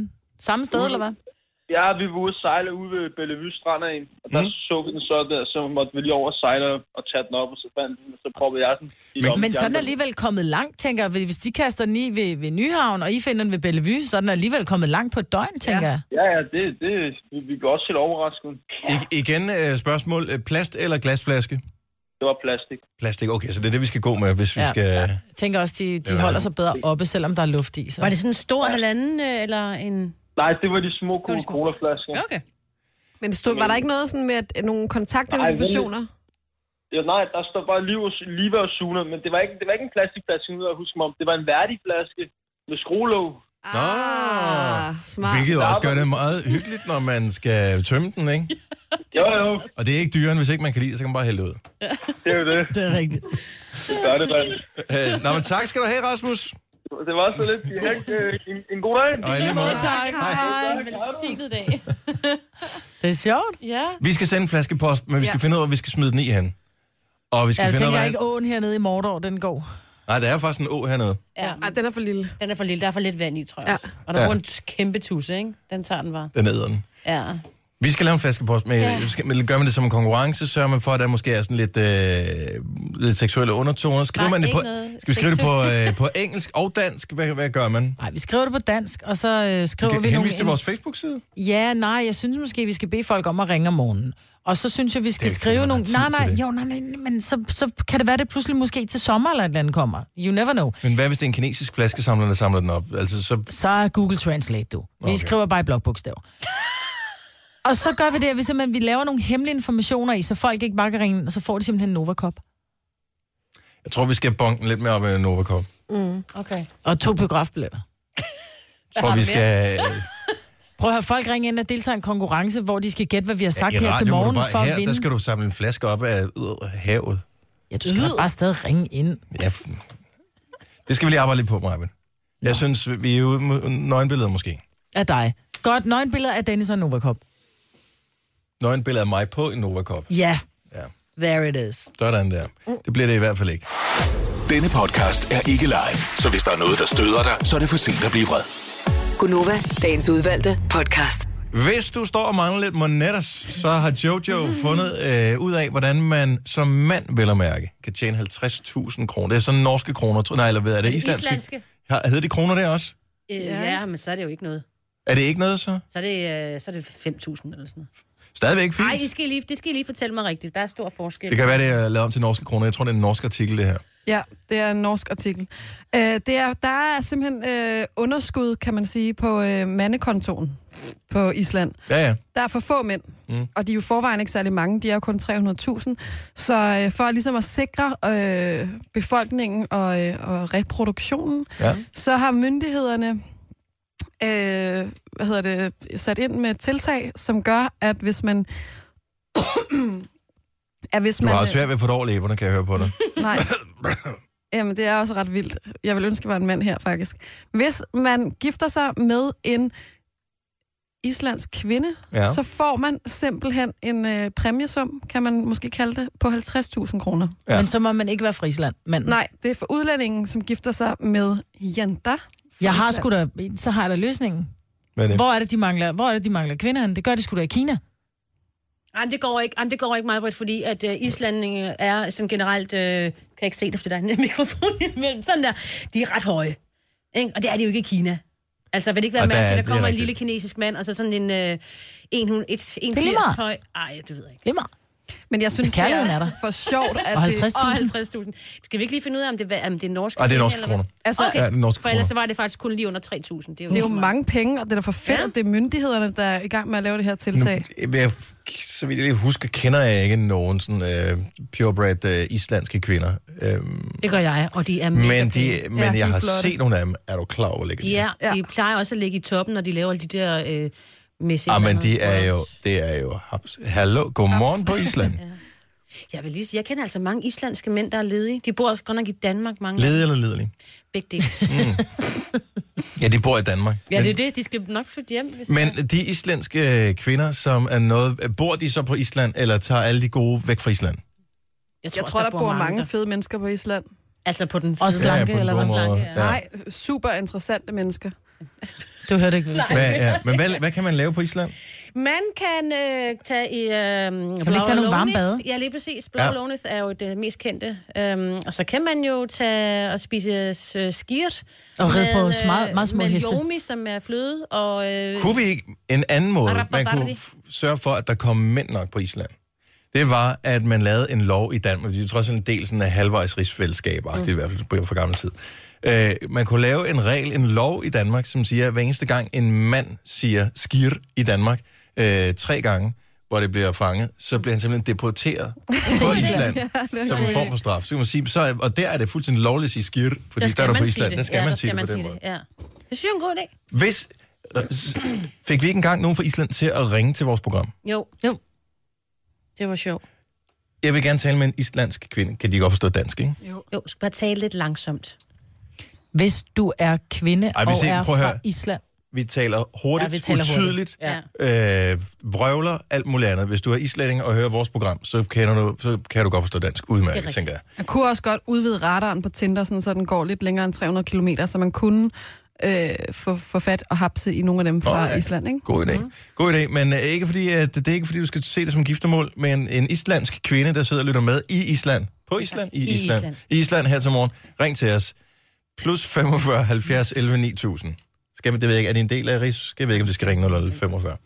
S3: Samme sted, eller hvad?
S11: Ja, vi var ude at sejle ude ved Bellevue Strand af, og
S1: Mhm.
S11: der mm. så vi den så der, så måtte vi lige over og sejle og tage den op, og så fandt den, og så proppede jeg den. i lommen.
S3: Men
S11: De
S3: sådan er
S11: andre-
S3: alligevel kommet langt, tænker jeg. Hvis de kaster den i ved, ved Nyhavn, og I finder den ved Bellevue, så er den alligevel kommet langt på et døgn, tænker jeg.
S11: Ja, ja, det, det, vi, vi blev også helt overrasket.
S1: I, igen øh, spørgsmål. Øh, Plast eller glasflaske?
S11: Det var plastik.
S1: Plastik, okay, så det er det, vi skal gå med, hvis vi
S3: Ja.
S1: skal...
S3: Jeg tænker også, de, de
S1: Ja.
S3: holder sig bedre oppe, selvom der er luft i. Så.
S2: Var det sådan en stor halvanden, øh, eller en...
S11: Nej, det var de små Coca-Cola-flasker.
S2: Okay.
S4: Men det stod, var der ikke noget sådan med at, nogle kontaktinformationer?
S11: Ja, nej, der står bare liv og, live og Suna, men det var ikke, det var ikke en plastikflaske, nu jeg husker mig om. Det var en værdig flaske med skruelåg.
S4: Ah, smart.
S1: Hvilket også gør det meget hyggeligt, når man skal tømme den, ikke?
S11: Jo, jo.
S1: Og det er ikke dyrere, end hvis ikke man kan lide det, så kan man bare hælde det ud.
S11: Det er jo
S1: <laughs>
S11: det.
S3: Det er rigtigt.
S11: Det gør det, dreng.
S1: Øh, nå, men tak skal du have, Rasmus.
S11: Det var så lidt. I har ikke, øh, en, en god dag.
S1: Og i lige måde.
S2: Tak. Hej.
S11: Hej.
S2: Velsignet dag.
S3: Det er sjovt.
S2: Ja.
S1: Vi skal sende en flaskepost, men vi skal
S3: Ja.
S1: finde ud af, hvor vi skal smide den i hen. Og vi skal
S3: Ja, jeg
S1: finde ud
S3: tænker
S1: af...
S3: ikke, åen hernede i Mordor, den går.
S1: Nej, der er faktisk en å hernede.
S2: Ja.
S4: Ej, den er for lille.
S2: Den er for lille. Der er for lidt vand i, tror jeg
S4: Ja.
S2: også. Og der
S1: Ja.
S2: ja. en kæmpe tusse, ikke? Den tager den bare.
S1: Den er den.
S2: Ja.
S1: Vi skal lave en flaskepost, men,
S2: Ja.
S1: ja. men gør man det som en konkurrence, sørger man for, at der måske er sådan lidt, øh, lidt seksuelle undertoner. Skriver
S3: Nej,
S1: man det
S3: ikke
S1: på,
S3: noget
S1: skal vi skrive det på,
S3: seksuelt.
S1: øh, på engelsk og dansk? Hvad, hvad gør man?
S3: Nej, vi skriver det på dansk, og så øh, skriver
S1: Kan
S3: vi nogle...
S1: henvise til vores Facebook-side?
S3: Ja, nej, jeg synes måske, vi skal bede folk om at ringe om morgenen. Og så synes jeg, vi skal
S1: ikke
S3: skrive
S1: sikkert, man
S3: nogle...
S1: har
S3: Nej,
S1: tid til
S3: nej,
S1: det.
S3: jo, nej, nej, men så, så kan det være, det pludselig måske til sommer eller et eller andet kommer. You never know.
S1: Men hvad hvis det er en kinesisk flaskesamler, der samler den op? Altså, så...
S3: Så er Google Translate, du. Vi
S1: Okay.
S3: okay. skriver bare i blokbogstav. og så gør vi det, at vi, simpelthen, vi laver nogle hemmelige informationer i, så folk ikke bare kan ringe, ind, og så får de simpelthen en Novacop.
S1: Jeg tror, vi skal bonke den lidt mere op med Novacop.
S3: Mm.
S2: Okay.
S3: Og to biografbilletter.
S1: Jeg tror, vi skal... øh,
S3: Prøv at have folk ringe ind og deltage i en konkurrence, hvor de skal gætte, hvad vi har <laughs> sagt
S1: i
S3: ja, her til
S1: radio må du
S3: morgen
S1: bare,
S3: for at
S1: her,
S3: vinde.
S1: Der skal du samle en flaske op af øh, havet.
S3: Ja, du skal bare stadig ringe ind.
S1: Ja. Det skal vi lige arbejde lidt på, Marvin. Jeg synes, vi er ude med nøgenbilleder måske.
S3: Af dig. Godt, nøgenbilleder af Dennis og Novakop.
S1: Nøgenbilleder af mig på en Novacop.
S3: Ja.
S1: Ja.
S3: There it is.
S1: Sådan der. Det bliver det i hvert fald ikke.
S6: Denne podcast er ikke live, så hvis der er noget, der støder dig, så er det for sent at blive vred.
S5: Gunova, dagens udvalgte podcast.
S1: Hvis du står og mangler lidt monetters, så har Jojo fundet øh, ud af, hvordan man som mand, vel at mærke, kan tjene 50.000 kroner. Det er sådan norske kroner, tror- nej, eller hvad er det? Islandske?
S2: Islandske.
S1: Har, hedder de kroner der også?
S2: Øh, ja. ja, men så er det jo ikke noget.
S1: Er det ikke noget så?
S2: Så er det, øh, så er det 5.000 eller sådan noget.
S1: Stadigvæk fint.
S2: Nej, det skal, I lige, det skal I lige fortælle mig rigtigt. Der er stor forskel.
S1: Det kan være, det er lavet om til norske kroner. Jeg tror, det er en norsk artikel, det her.
S4: Ja, det er en norsk artikel. Øh, det er, der er simpelthen øh, underskud, kan man sige, på øh, mandekontoen på Island.
S1: Ja, ja.
S4: Der er for få mænd,
S1: Mm.
S4: mm. og de er jo forvejen ikke særlig mange. De er jo kun 300.000. Så øh, for ligesom at sikre øh, befolkningen og, øh, og reproduktionen,
S1: Ja.
S4: så har myndighederne øh, hvad hedder det, sat ind med tiltag, som gør, at hvis man... <clears throat> at hvis
S1: Du
S4: man
S1: har
S2: øh,
S1: også svært ved at få det over læberne, kan jeg høre på
S2: <laughs>
S1: dig. <coughs>
S4: Nej. Jamen, det er også ret vildt. Jeg vil ønske, at jeg var en mand her, faktisk. Hvis man gifter sig med en islandsk kvinde,
S1: Ja.
S4: ja. så får man simpelthen en øh, præmiesum, kan man måske kalde det, på 50.000 kroner.
S1: Ja. Men
S4: så må man ikke være fra Island, manden. Nej, det er for udlændingen, som gifter sig med jenter.
S3: Jeg har sgu da, så har jeg da løsningen.
S1: Hvad er det?
S3: Hvor er det, de mangler, hvor er det, de mangler kvinder? henne? Det gør de sgu da i Kina.
S2: Jamen, det går ikke, Jamen, det går ikke meget bredt, fordi at øh, islændinge er sådan generelt... Øh, kan jeg ikke se det, fordi der er en mikrofon <laughs> imellem. Sådan der. De er ret høje. Ikke? Og det er de jo ikke i Kina. Altså, vil det ikke være
S1: Og der er-
S2: mærkeligt, at
S1: det
S2: der
S1: er
S2: kommer en
S1: rigtigt.
S2: lille kinesisk mand, og så sådan en... Øh, en, hun, et, en
S4: Det er lige meget.
S2: høj... Ej, det ved jeg ikke.
S3: Glimmer.
S4: Men jeg synes, det
S2: Kærligheden er
S4: er
S2: der.
S4: for sjovt, at
S2: Og
S4: det...
S2: 50.000. Skal vi ikke lige finde ud af, om det, er- om det er norske
S1: Ej, det er norske
S2: eller hvad?
S1: kroner.
S4: Altså-
S2: okay.
S1: Ja, det er norske
S2: For ellers
S1: kroner.
S2: så var det faktisk kun lige under 3.000. Det er jo,
S4: Det er jo mange penge, og det er da for fedt, ja. at det er myndighederne, der er i gang med at lave det her tiltag.
S1: Nu, jeg, så vidt jeg lige husker, kender jeg ikke nogen sådan, øh, purebred øh, islandske kvinder. Øhm,
S2: Det gør jeg, og de er mega
S1: men de,
S2: pæne.
S1: men ja, jeg har set nogle af dem. Er du klar over, hvor lækker de er?
S2: Ja, de plejer også at ligge i toppen, når de laver alle de der øh, messe.
S1: Ah, men de er jo, det er jo, haps. hallo, godmorgen på
S2: <laughs>
S1: Island.
S2: Jeg vil lige sige, jeg kender altså mange islandske mænd, der er ledige. De bor godt nok i Danmark, mange af dem.
S1: Ledig eller Mm. lidelig?
S2: begge dele.
S1: Ja, de bor i Danmark.
S2: Ja, det er det. De skal nok flytte hjem. Hvis det er.
S1: Men de islandske øh, kvinder, som er noget... Bor de så på Island, eller tager alle de gode væk fra Island?
S4: Jeg tror, jeg tror der, der bor mange fede mennesker på Island.
S2: Altså på den
S1: Også slanke, Ja, på den eller gode hvad? måde, ja.
S4: Nej, super interessante mennesker.
S3: Du hørte ikke, hvad vi
S1: Hvad, ja. Men hvad, hvad kan man lave på Island?
S2: Man kan øh, tage i... Øh, kan man
S3: ikke tage nogle varme bade?
S2: Ja, lige præcis. Blå
S1: Ja.
S2: ja. er jo det mest kendte. Øhm, og så kan man jo tage og spise øh, skirt.
S3: Og ride på
S2: med, øh,
S3: meget- meget små
S2: med
S3: heste.
S2: yomi, som er fløde. Og, øh,
S1: Kunne vi ikke en anden måde, man
S2: Arababari.
S1: kunne f- sørge for, at der kom mænd nok på Island? Det var, at man lavede en lov i Danmark. Det er trods alt en del sådan af halvvejs rigsfællesskaber, mm. det er i hvert fald på- fra gammel tid. Øh, man kunne lave en regel, en lov i Danmark, som siger, at hver eneste gang en mand siger skir i Danmark øh, tre gange, hvor det bliver fanget, så bliver han simpelthen
S2: <laughs>
S1: deporteret på <laughs> Island som en form for straf. Så kan man sige, så, er- og der er det fuldstændig lovligt at sige skir, fordi
S2: Der
S1: der,
S2: skal
S1: er du på
S2: man sige
S1: Island.
S2: det.
S1: Der skal
S2: Ja,
S1: man
S2: der
S1: sige
S2: skal
S1: det på den
S2: man sige
S1: måde.
S2: det, Ja. Det synes jeg er en god idé. <clears throat>
S1: Hvis, s- fik vi ikke engang nogen fra Island til at ringe til vores program?
S2: Jo.
S3: jo.
S2: Det var sjovt.
S1: Jeg vil gerne tale med en islandsk kvinde. Kan de godt forstå dansk, ikke?
S2: Jo. jo, skal bare tale lidt langsomt.
S3: Hvis du er kvinde
S1: Ej, vi
S3: og
S1: ser-
S3: er
S1: prøv at
S3: fra
S1: høre.
S3: Island.
S1: Vi taler hurtigt,
S3: Ja, vi taler hurtigt.
S1: utydeligt, øh, vrøvler, alt muligt andet. Hvis du er islænding og hører vores program, så, kender du, så kan du godt forstå dansk
S4: Det er
S1: udmærket,
S4: rigtigt.
S1: tænker jeg.
S4: Man kunne også godt udvide radaren på Tinder, sådan, så den går lidt længere end 300 km, så man kunne øh, få, få fat og hapse i nogle af dem fra
S1: Nå, ja.
S4: Island. Ikke?
S1: God idé. God idé, men øh, ikke fordi, at, det er ikke fordi, du skal se det som giftermål, men en islandsk kvinde, der sidder og lytter med i Island, på Island, i,
S2: I
S1: Island.
S2: Island.
S1: i Island her til morgen, ring til os. Plus 45 70 11 9000. Skal man, det ved jeg ikke, er det en del af RIS? Skal jeg ved ikke, om det skal ringe 00 45.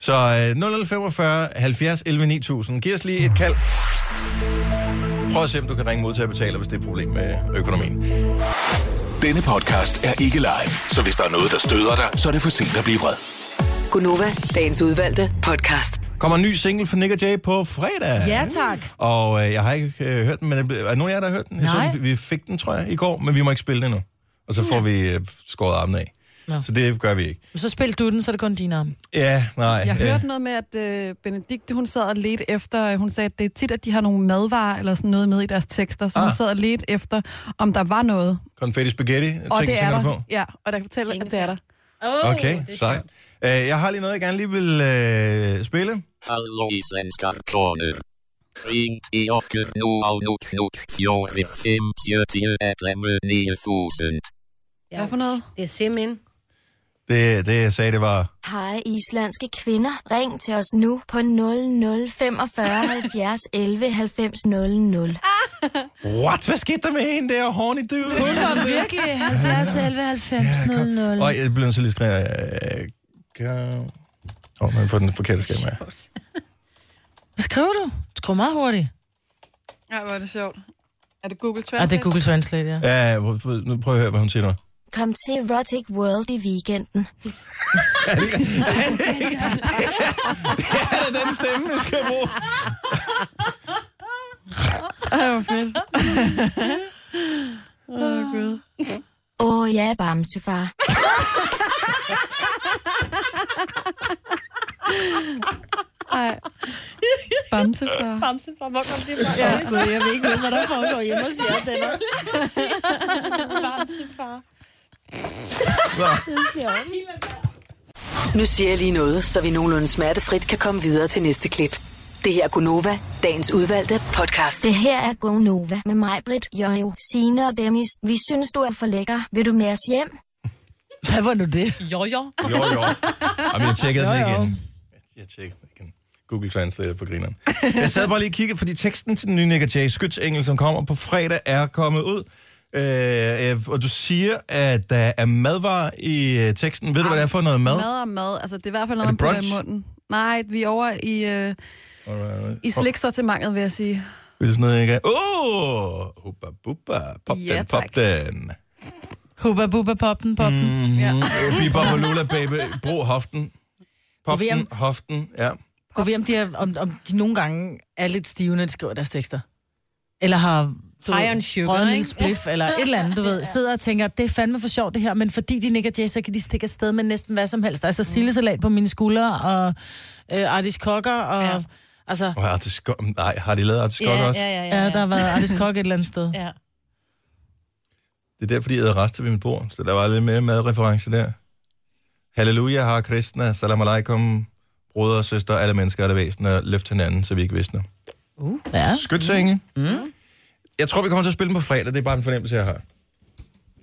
S1: Så øh, 00 45 70 11 9000. Giv os lige et kald. Prøv at se, om du kan ringe modtager betaler, hvis det er et problem med økonomien.
S6: Denne podcast er ikke live, så hvis der er noget, der støder dig, så er det for sent at blive vred.
S5: Gunova, dagens udvalgte podcast.
S1: Kommer en ny single fra Nick Jay på fredag.
S3: Ja, tak.
S1: Og øh, jeg har ikke øh, hørt den, men den blev- er der nogen af jer, der har hørt den? Jeg
S3: Nej.
S1: Så, den- vi fik den, tror jeg, i går, men vi må ikke spille den endnu. Og så får vi øh, skåret armen af.
S3: Nå.
S1: Så det gør vi ikke.
S3: Så spil du den, så er det kun din arm.
S1: Ja, nej.
S4: Jeg
S1: øh,
S4: hørte noget med, at øh, Benedikte, hun sad og ledte efter, øh, hun sagde, at det er tit, at de har nogle madvarer eller sådan noget med i deres tekster, så ah. hun
S1: Ah.
S4: sad og ledte efter, om der var noget.
S1: Confetti spaghetti, tænker,
S4: og det er
S1: tænker du
S4: der.
S1: på?
S4: Ja, og der kan fortælle, at det er der.
S1: Okay, sejt. Øh, jeg har lige noget, jeg gerne lige vil øh, spille.
S12: Hallå svenskar koner. Ring till ocker nu av nu knut fjore fem sjötio ett lämre nio tusen.
S2: Ja, Hvad for noget? Det er simpelthen.
S1: Det, det jeg sagde, det var...
S13: Hej islandske kvinder, ring til os nu på 0045 70 11 90 00.
S4: Ah,
S1: What? Hvad skete der med hende der, horny dude?
S3: Hun <laughs> var virkelig 70 11 90 00.
S1: Øj, jeg blev nødt til lige at skrive... øh, kan- Åh, oh, man får den forkerte skærm af.
S3: Hvad skriver du? Du skriver meget hurtigt.
S4: Ja, hvor er det sjovt. Er det Google Translate?
S3: Ja, det er Google Translate, ja.
S1: Ja, nu prøv at høre, hvad hun siger nu.
S13: Kom til Erotic World i
S1: <laughs>
S13: weekenden.
S1: det er da den stemme, vi skal bruge.
S4: Ej, hvor fedt. Åh, oh, Gud.
S13: Åh oh, ja, bamsefar.
S4: Ej.
S2: <laughs>
S4: Bamsefar.
S2: Bamsefar, hvor kom det fra?
S4: Ja, altså, jeg ved ikke, hvad der foregår
S3: hjemme hos jer, den
S2: <laughs>
S3: er.
S2: Bamsefar.
S5: Nu siger jeg lige noget, så vi nogenlunde smertefrit kan komme videre til næste klip. Det her er Gunova, dagens udvalgte podcast.
S13: Det her er GoNova med mig, Britt, Jojo, Signe og Dennis. Vi synes, du er for lækker. Vil du med os hjem?
S3: <laughs> Hvad var nu det?
S2: Jo, jo.
S1: Jo, jo. Jamen, jeg tjekkede den
S3: Jo,
S1: ikke
S3: jo.
S1: igen. Jeg tjekkede den igen. Google Translate på grineren. Jeg sad bare lige og kiggede, fordi teksten til den nye Nick og Jay Skytsengel, som kommer på fredag, er kommet ud. Øh, øh, og du siger, at der er madvarer i øh, teksten. Ved du, hvad det er for noget mad?
S4: Mad og mad. Altså, det er i hvert fald
S1: Er
S4: noget, man
S1: det
S4: putter i
S1: brunch?
S4: munden. Nej, vi er over i, øh, i sliksortimentet, vil jeg sige.
S1: Vil sådan noget ikke? Åh! Oh, hubba bubba. Pop
S4: Ja,
S1: den, pop
S4: tak.
S1: den.
S3: Hubba bubba poppen poppen.
S1: Mm-hmm. Ja. Bibba og Lula, baby. Brug hoften. Pop den, hoften. Ja.
S3: Gå ved, om de, er, om, om de nogle gange er lidt stive, når de skriver deres tekster. Eller har du
S2: High on sugar,
S3: røget en lille
S2: ikke?
S3: spliff, eller et eller andet, du ved, sidder og tænker, det er fandme for sjovt det her, men fordi de nikker jazz, så kan de stikke afsted med næsten hvad som helst. Altså sildesalat på mine skuldre, og øh, artiskokker, og... Ja. Altså,
S1: Og artiskok. Nej, har de lavet artiskok også?
S3: ja, ja, der har været artiskokke et eller andet sted.
S2: Ja.
S1: Det er derfor, de æder rester ved mit bord, så der var lidt mere madreference der. Halleluja, har kristne, salam alaikum, brødre og søster, alle mennesker og alle væsener, løft hinanden, så vi ikke visner.
S3: Uh, ja.
S1: Skytsenge. Mm. Jeg tror, vi kommer til at spille den på fredag, det er bare en fornemmelse, jeg har.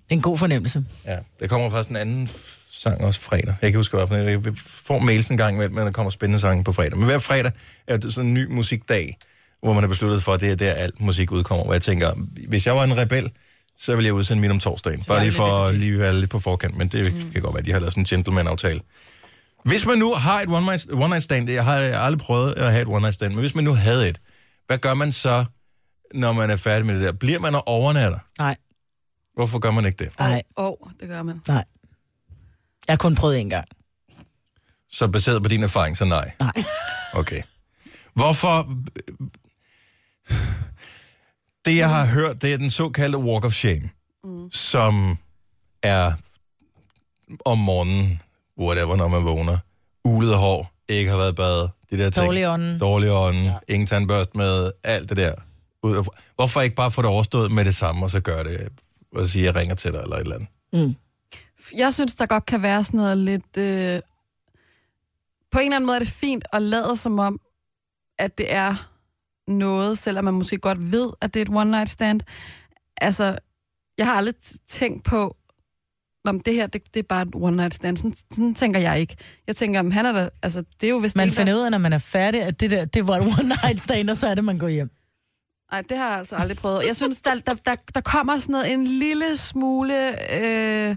S3: En god fornemmelse.
S1: Ja. Der kommer faktisk en anden f- sang også fredag. Jeg kan ikke huske, hvad for en. Vi får mails en gang imellem, men der kommer spændende sange på fredag. Men hver fredag er det sådan en ny musikdag, hvor man har besluttet for, at det er der, alt musik udkommer. Hvor jeg tænker, hvis jeg var en rebel, så ville jeg udsende min om torsdagen. Bare lige for at lige være lidt på forkant, men det kan godt være, at de har lavet sådan en gentleman-aftale. Hvis man nu har et one-night one night stand, jeg har aldrig prøvet at have et one-night stand, men hvis man nu havde et, hvad gør man så, når man er færdig med det der? Bliver man og overnatter?
S3: Nej.
S1: Hvorfor gør man ikke det?
S3: Nej.
S4: Åh, oh, det gør man.
S3: Nej. Jeg har kun prøvet en gang.
S1: Så baseret på din erfaring, så nej?
S3: Nej.
S1: Okay. Hvorfor... Det, jeg har hørt, det er den såkaldte walk of shame, mm. som er om morgenen, whatever, når man vågner. Ulet hår, ikke har været i bad, de der ting.
S3: Dårlig ånden.
S1: Dårlig ånden, ja. ingen tandbørst med, alt det der. Ud af- Hvorfor ikke bare få det overstået med det samme, og så gøre det, og sige, jeg ringer til dig, eller et eller andet.
S3: Mm.
S4: Jeg synes, der godt kan være sådan noget lidt... Øh... På en eller anden måde er det fint at lade som om, at det er noget, selvom man måske godt ved, at det er et one-night stand. Altså, jeg har aldrig t- tænkt på, om det her, det, det er bare et one-night stand. Sådan, sådan tænker jeg ikke. Jeg tænker, om han er der... Altså, det er jo, hvis det
S3: Man
S4: ikke
S3: finder
S4: er-
S3: ud af, når man er færdig, at det der, det var et one-night stand, og så er det, man går hjem.
S4: Nej, det har jeg altså aldrig prøvet. Jeg synes, der, der, der, der kommer sådan noget, en lille smule øh,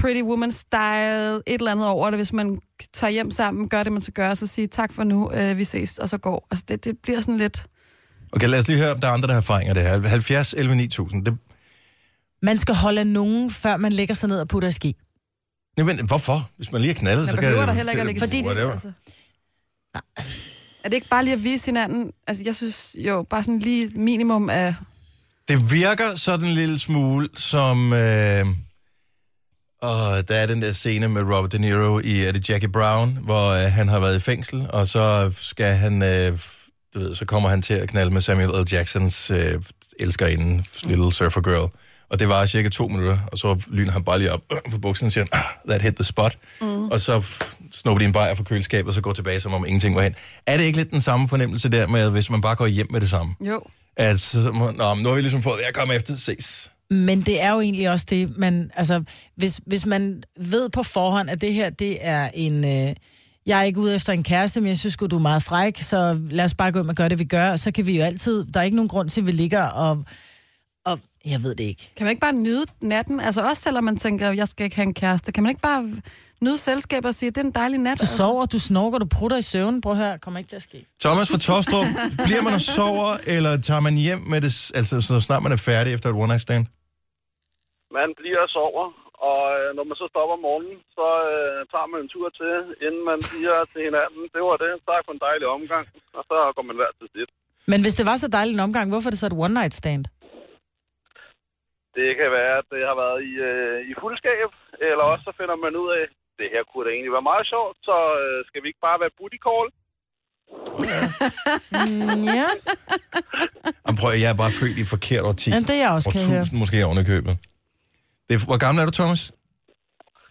S4: pretty woman style, et eller andet over det, hvis man tager hjem sammen, gør det, man skal gøre, og så sige tak for nu, øh, vi ses, og så går. Altså, det, det bliver sådan lidt...
S1: Okay, lad os lige høre, om der er andre, der har erfaringer af det her. 70, 11, 9000. Det...
S3: Man skal holde af nogen, før man lægger sig ned og putter i ski.
S1: Jamen, hvorfor? Hvis man lige er knaldet,
S4: Man
S1: så kan
S4: behøver der heller ikke at lægge
S1: Fordi...
S4: sig fast,
S1: Whatever.
S4: altså. Er det ikke bare lige at vise hinanden? Altså, jeg synes jo, bare sådan lige minimum af...
S1: Det virker sådan en lille smule som... Øh... Og der er den der scene med Robert De Niro i er det Jackie Brown, hvor øh, han har været i fængsel, og så skal han, øh, f- du ved, så kommer han til at knalde med Samuel L. Jacksons øh, elskerinde, Little Surfer Girl. Og det var cirka to minutter, og så lyner han bare lige op <clears throat> øh, på buksen og siger, han, ah, that hit the spot. Mm. Og så f- snupper de en bajer fra køleskabet, og så går tilbage, som om ingenting var hen. Er det ikke lidt den samme fornemmelse der med, hvis man bare går hjem med det samme?
S4: Jo.
S1: at så, må- nå, men nu har vi ligesom fået, jeg kommer efter, ses.
S3: Men det er jo egentlig også det, man, altså, hvis, hvis man ved på forhånd, at det her, det er en, øh, jeg er ikke ude efter en kæreste, men jeg synes sgu, du er meget fræk, så lad os bare gå ind og gøre det, vi gør, og så kan vi jo altid, der er ikke nogen grund til, at vi ligger og, og jeg ved det ikke.
S4: Kan man ikke bare nyde natten? Altså også selvom man tænker, jeg skal ikke have en kæreste. Kan man ikke bare nyde selskabet og sige, det er en dejlig nat?
S3: Du sover, du snorker, du prutter i søvn. Prøv at høre, kommer ikke til at ske.
S1: Thomas fra Tostrup, bliver man og sover, eller tager man hjem med det, s- altså så snart man er færdig efter et one night stand?
S14: Man bliver og sover, og øh, når man så stopper om morgenen, så øh, tager man en tur til, inden man siger til hinanden, det var det, tak for en dejlig omgang, og så går man hver til sit.
S3: Men hvis det var så dejlig en omgang, hvorfor er det så et one night stand?
S14: Det kan være, at det har været i, øh, i fuldskab, eller også så finder man ud af, det her kunne da egentlig være meget sjovt, så øh, skal vi ikke bare være booty call?
S3: Mm, ja.
S1: Jamen, prøv, at- jeg er bare født i et forkert årti.
S3: Jamen, det er jeg også, kan jeg høre.
S1: Årtusind måske ovenikøbet. Det er, hvor gammel er du, Thomas?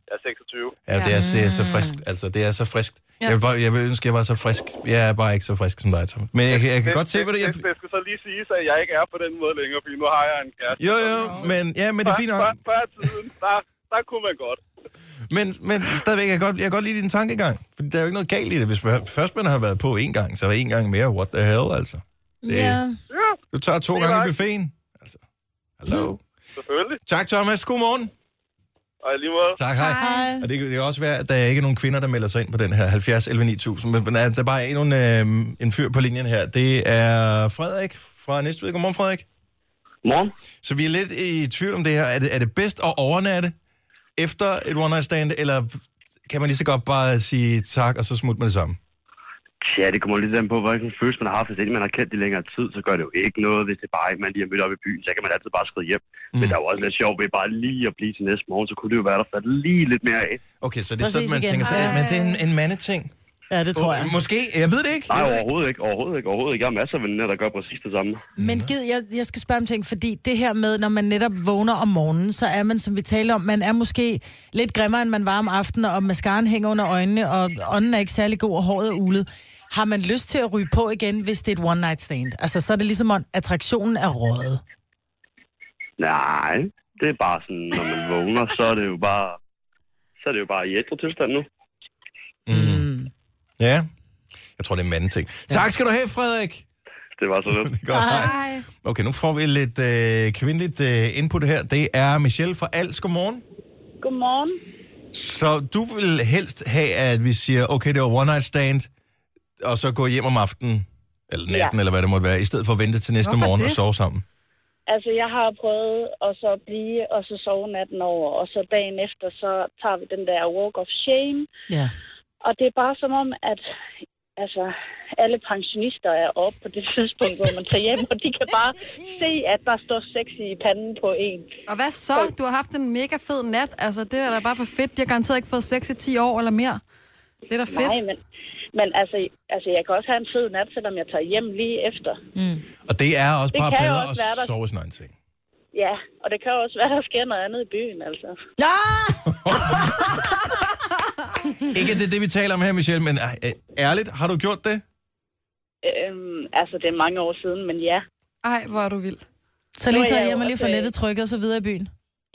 S14: Jeg er 26.
S1: Ja, det er, så- det er så frisk. Altså, det er så frisk.
S14: Ja.
S1: Ja. Jeg, vil bare, jeg vil ønske, jeg var så frisk. Jeg er bare ikke så frisk som dig, Thomas. Men jeg, kan- jeg kan godt se, hvad det er.
S14: Det, det skal så lige siges, at jeg ikke er på den måde længere, fordi nu har jeg en kæreste.
S1: Jo, jo, men, ja, men det er fint nok.
S14: Før, før tiden, der, der kunne man godt.
S1: Men, men stadigvæk, jeg kan, godt, jeg kan godt lide din tankegang. For der er jo ikke noget galt i det. Hvis man, først man har været på en gang, så er der en gang mere. What the hell, altså. Det,
S14: Ja,
S1: Du tager to
S14: Det er
S1: gange i
S14: rigtigt.
S1: buffeten. Altså, hallo.
S14: selvfølgelig.
S1: Tak, Thomas. Godmorgen.
S14: Og i lige måde.
S1: Tak, hej. hej. Og det, kan- det kan også være, at der ikke er nogen kvinder, der melder sig ind på den her 70 11 9000, men men er der er bare endnu en, øh, en fyr på linjen her. Det er Frederik fra Næstved. Godmorgen, Frederik. Morgen. Så vi er lidt i tvivl om det her. Er det, er det bedst at overnatte efter et one night stand, eller kan man lige så godt bare sige tak, og så smutte med det samme?
S15: Ja, det kommer lidt an på, hvilken følelse man har haft. Hvis ikke man har kendt det længere tid, så gør det jo ikke noget. Hvis det bare ikke man lige har mødt op i byen, så kan man altid bare skride hjem. Mm. Men der er jo også lidt sjovt ved bare lige at blive til næste morgen, så kunne det jo være, der faldt lige lidt mere af.
S1: Okay, så det er sådan, man tænker sig,
S15: Ej.
S1: men det er en, en mandeting.
S3: Ja, det tror
S1: Oh,
S3: jeg.
S1: Måske, jeg ved det ikke.
S15: Nej, overhovedet ikke, overhovedet ikke, overhovedet ikke. Jeg har masser af veninder, der gør præcis det samme.
S3: Men gid, jeg, jeg skal spørge om ting, fordi det her med, når man netop vågner om morgenen, så er man, som vi taler om, man er måske lidt grimmere, end man var om aftenen, og mascaraen hænger under øjnene, og ånden er ikke særlig god, og håret er ulet. Har man lyst til at ryge på igen, hvis det er et one night stand? Altså, så er det ligesom, at attraktionen er røget.
S15: Nej, det er bare sådan, når man vågner, så er det jo bare, så er det jo bare i ædru tilstand nu.
S1: Mm. Ja, jeg tror, det er en mandeting. Tak skal du have, Frederik.
S15: Det var så
S1: <laughs>
S15: lidt.
S1: Godt, hej. Okay, nu får vi lidt øh, kvindeligt øh, input her. Det er Michelle fra Als. Godmorgen.
S16: Godmorgen.
S1: Så du vil helst have, at vi siger, okay, det var one night stand, og så gå hjem om aftenen, eller natten, ja. eller hvad det måtte være, i stedet for at vente til næste
S16: Hvorfor
S1: morgen
S16: det?
S1: og sove sammen.
S16: Altså, jeg har prøvet at så blive og så sove natten over, og så dagen efter, så tager vi den der walk of shame.
S3: Ja.
S16: Og det er bare som om, at altså, alle pensionister er oppe på det <laughs> tidspunkt, hvor man tager hjem, og de kan bare se, at der står sexy i panden på en.
S4: Og hvad så? Du har haft en mega fed nat. Altså, det er da bare for fedt. De har garanteret ikke fået sex i 10 år eller mere. Det er da fedt.
S16: Nej, men, men altså, altså, jeg kan også have en fed nat, selvom jeg tager hjem lige efter.
S1: Og det er også
S16: Mm. Det
S1: bare
S16: kan jo
S1: bedre
S16: også være
S1: at
S16: der.
S1: sove i sin egen seng.
S16: Ja, og det kan jo også være, at der sker noget andet i byen, altså.
S3: Ah!
S1: Ikke at det er det, vi taler om her, Michelle, men øh, øh, ærligt, har du gjort det?
S16: Øhm, altså, det er mange år siden, men ja.
S4: Ej, hvor er du vild.
S3: Så
S16: Nu
S3: lige
S16: er
S3: tager
S16: jeg
S3: hjem
S16: jo
S3: og lige
S16: også,
S3: får
S16: øh,
S3: lettet trykket, og så videre i byen.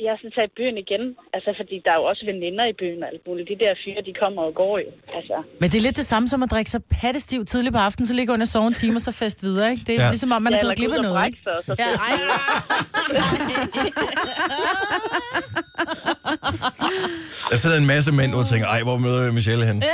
S16: Jeg skal tage i byen igen, altså fordi der er jo også veninder i byen og alt muligt. De der fyre, de kommer og går jo, altså.
S3: Men det er lidt det samme som at drikke sig pattestiv tidligt på aftenen, så ligger under sove en time, og så fest videre, ikke? Det er ja.
S16: Ja.
S3: ligesom om, man
S16: Ja,
S3: er
S16: eller
S3: gået glip
S16: gå
S3: af
S16: ud og
S3: noget,
S16: brække
S3: ikke?
S16: sig, og så
S3: Ja,
S16: fest.
S3: ej.
S1: Der sidder en masse mænd og tænker, ej, hvor møder jeg Michelle hen? Mm.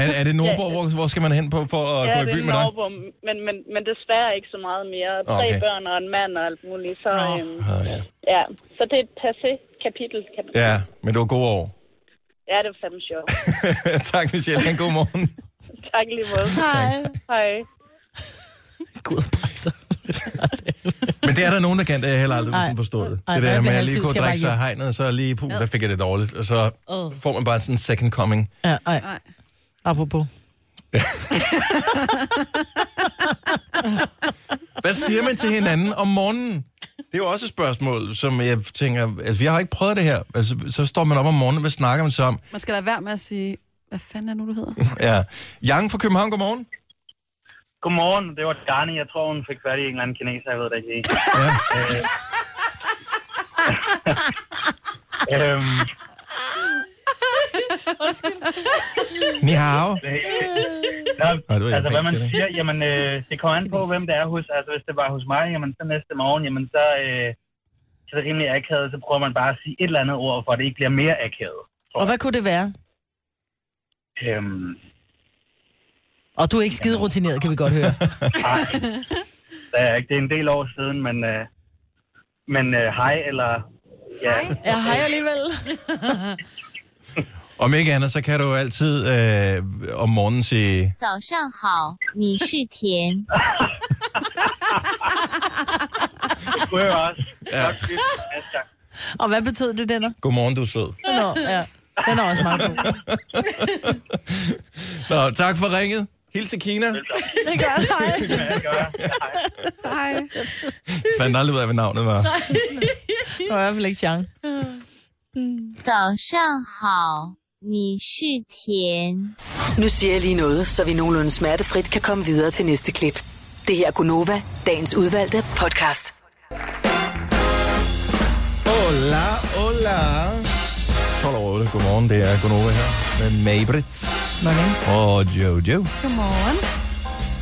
S1: Er, er det Nordborg? Hvor, hvor skal man hen på for at
S16: ja,
S1: gå i
S16: det
S1: byen
S16: er
S1: med dig?
S16: Norrbom, men, men, men desværre ikke så meget mere. Tre
S1: Okay.
S16: børn og en mand og alt muligt, så... Øhm,
S1: Ah, ja.
S16: ja, så det er et passé kapitel. kapitel.
S1: ja, men det var gode år. <laughs>
S16: ja, det var fandme sjovt. <laughs>
S1: tak, Michelle. Ha' En god morgen.
S16: tak i lige måde. Hej. Hej.
S1: Men det er der nogen, der kan. Det har jeg heller aldrig nogensinde forstået.
S16: Ej,
S1: det
S16: hvad
S1: der
S16: er
S1: med
S16: det,
S1: at lige
S16: altid
S1: kunne
S16: skal
S1: drikke
S16: bare
S1: sig af
S16: hjem?
S1: hegnet, og så lige, puh, der fik jeg det dårligt. Og så
S3: Åh.
S1: får man bare sådan en second coming.
S3: Ja, ej. Apropos.
S1: Hvad siger man til hinanden om morgenen? Det er jo også et spørgsmål, som jeg tænker, altså jeg har ikke prøvet det her. Altså, så står man op om morgenen, hvad snakker man så om?
S4: Man skal da være med at sige, hvad fanden er nu, du hedder?
S1: Ja. Yang fra København, godmorgen.
S17: <laughs> Godmorgen, det var Garni. Jeg tror, hun fik fat i en eller anden kineser, jeg ved det ikke. helt. Øh, øhm,
S2: <laughs>
S1: Ni
S17: <laughs>
S1: hao.
S17: Nå,
S1: Nå, det var
S17: altså,
S1: japansk,
S17: hvad man
S1: eller?
S17: siger, jamen, øh, det kommer an på, hvem det er hos. Altså, hvis det var hos mig, jamen, så næste morgen, jamen, så, øh, så er det rimelig akavet, så prøver man bare at sige et eller andet ord, for at det ikke bliver mere akavet.
S3: Og hvad kunne det være?
S17: Øhm,
S3: Og du er ikke skide rutineret, kan vi godt <laughs> høre.
S17: nej, det er, ikke- det er en del år siden, men, øh, men øh, hej, eller... Ja, <laughs>
S3: Ja, hej alligevel.
S1: Om ikke andet, så kan du altid øh, om morgenen sige...
S18: <laughs> 早上好，你是田。
S17: kunne jeg
S1: <laughs>
S17: også.
S1: Ja.
S3: Og hvad betød det, Denner?
S1: Godmorgen, du er sød.
S3: Nå, ja. Den er også <laughs> meget god.
S1: Nå, tak for ringet. Hils til Kina.
S3: Det gør jeg. Hej.
S4: Hej.
S1: <laughs> Fandt aldrig ud af, hvad navnet var.
S3: Det var i hvert fald ikke Chang.
S18: 早上好，你是田。
S5: Nu siger jeg lige noget, så vi nogenlunde smertefrit kan komme videre til næste klip. Det her er Gunova, dagens udvalgte podcast.
S1: Hola, hola. 12 over 8. Godmorgen, det er Gunova her med Mabrit. Og Jojo.
S19: Godmorgen.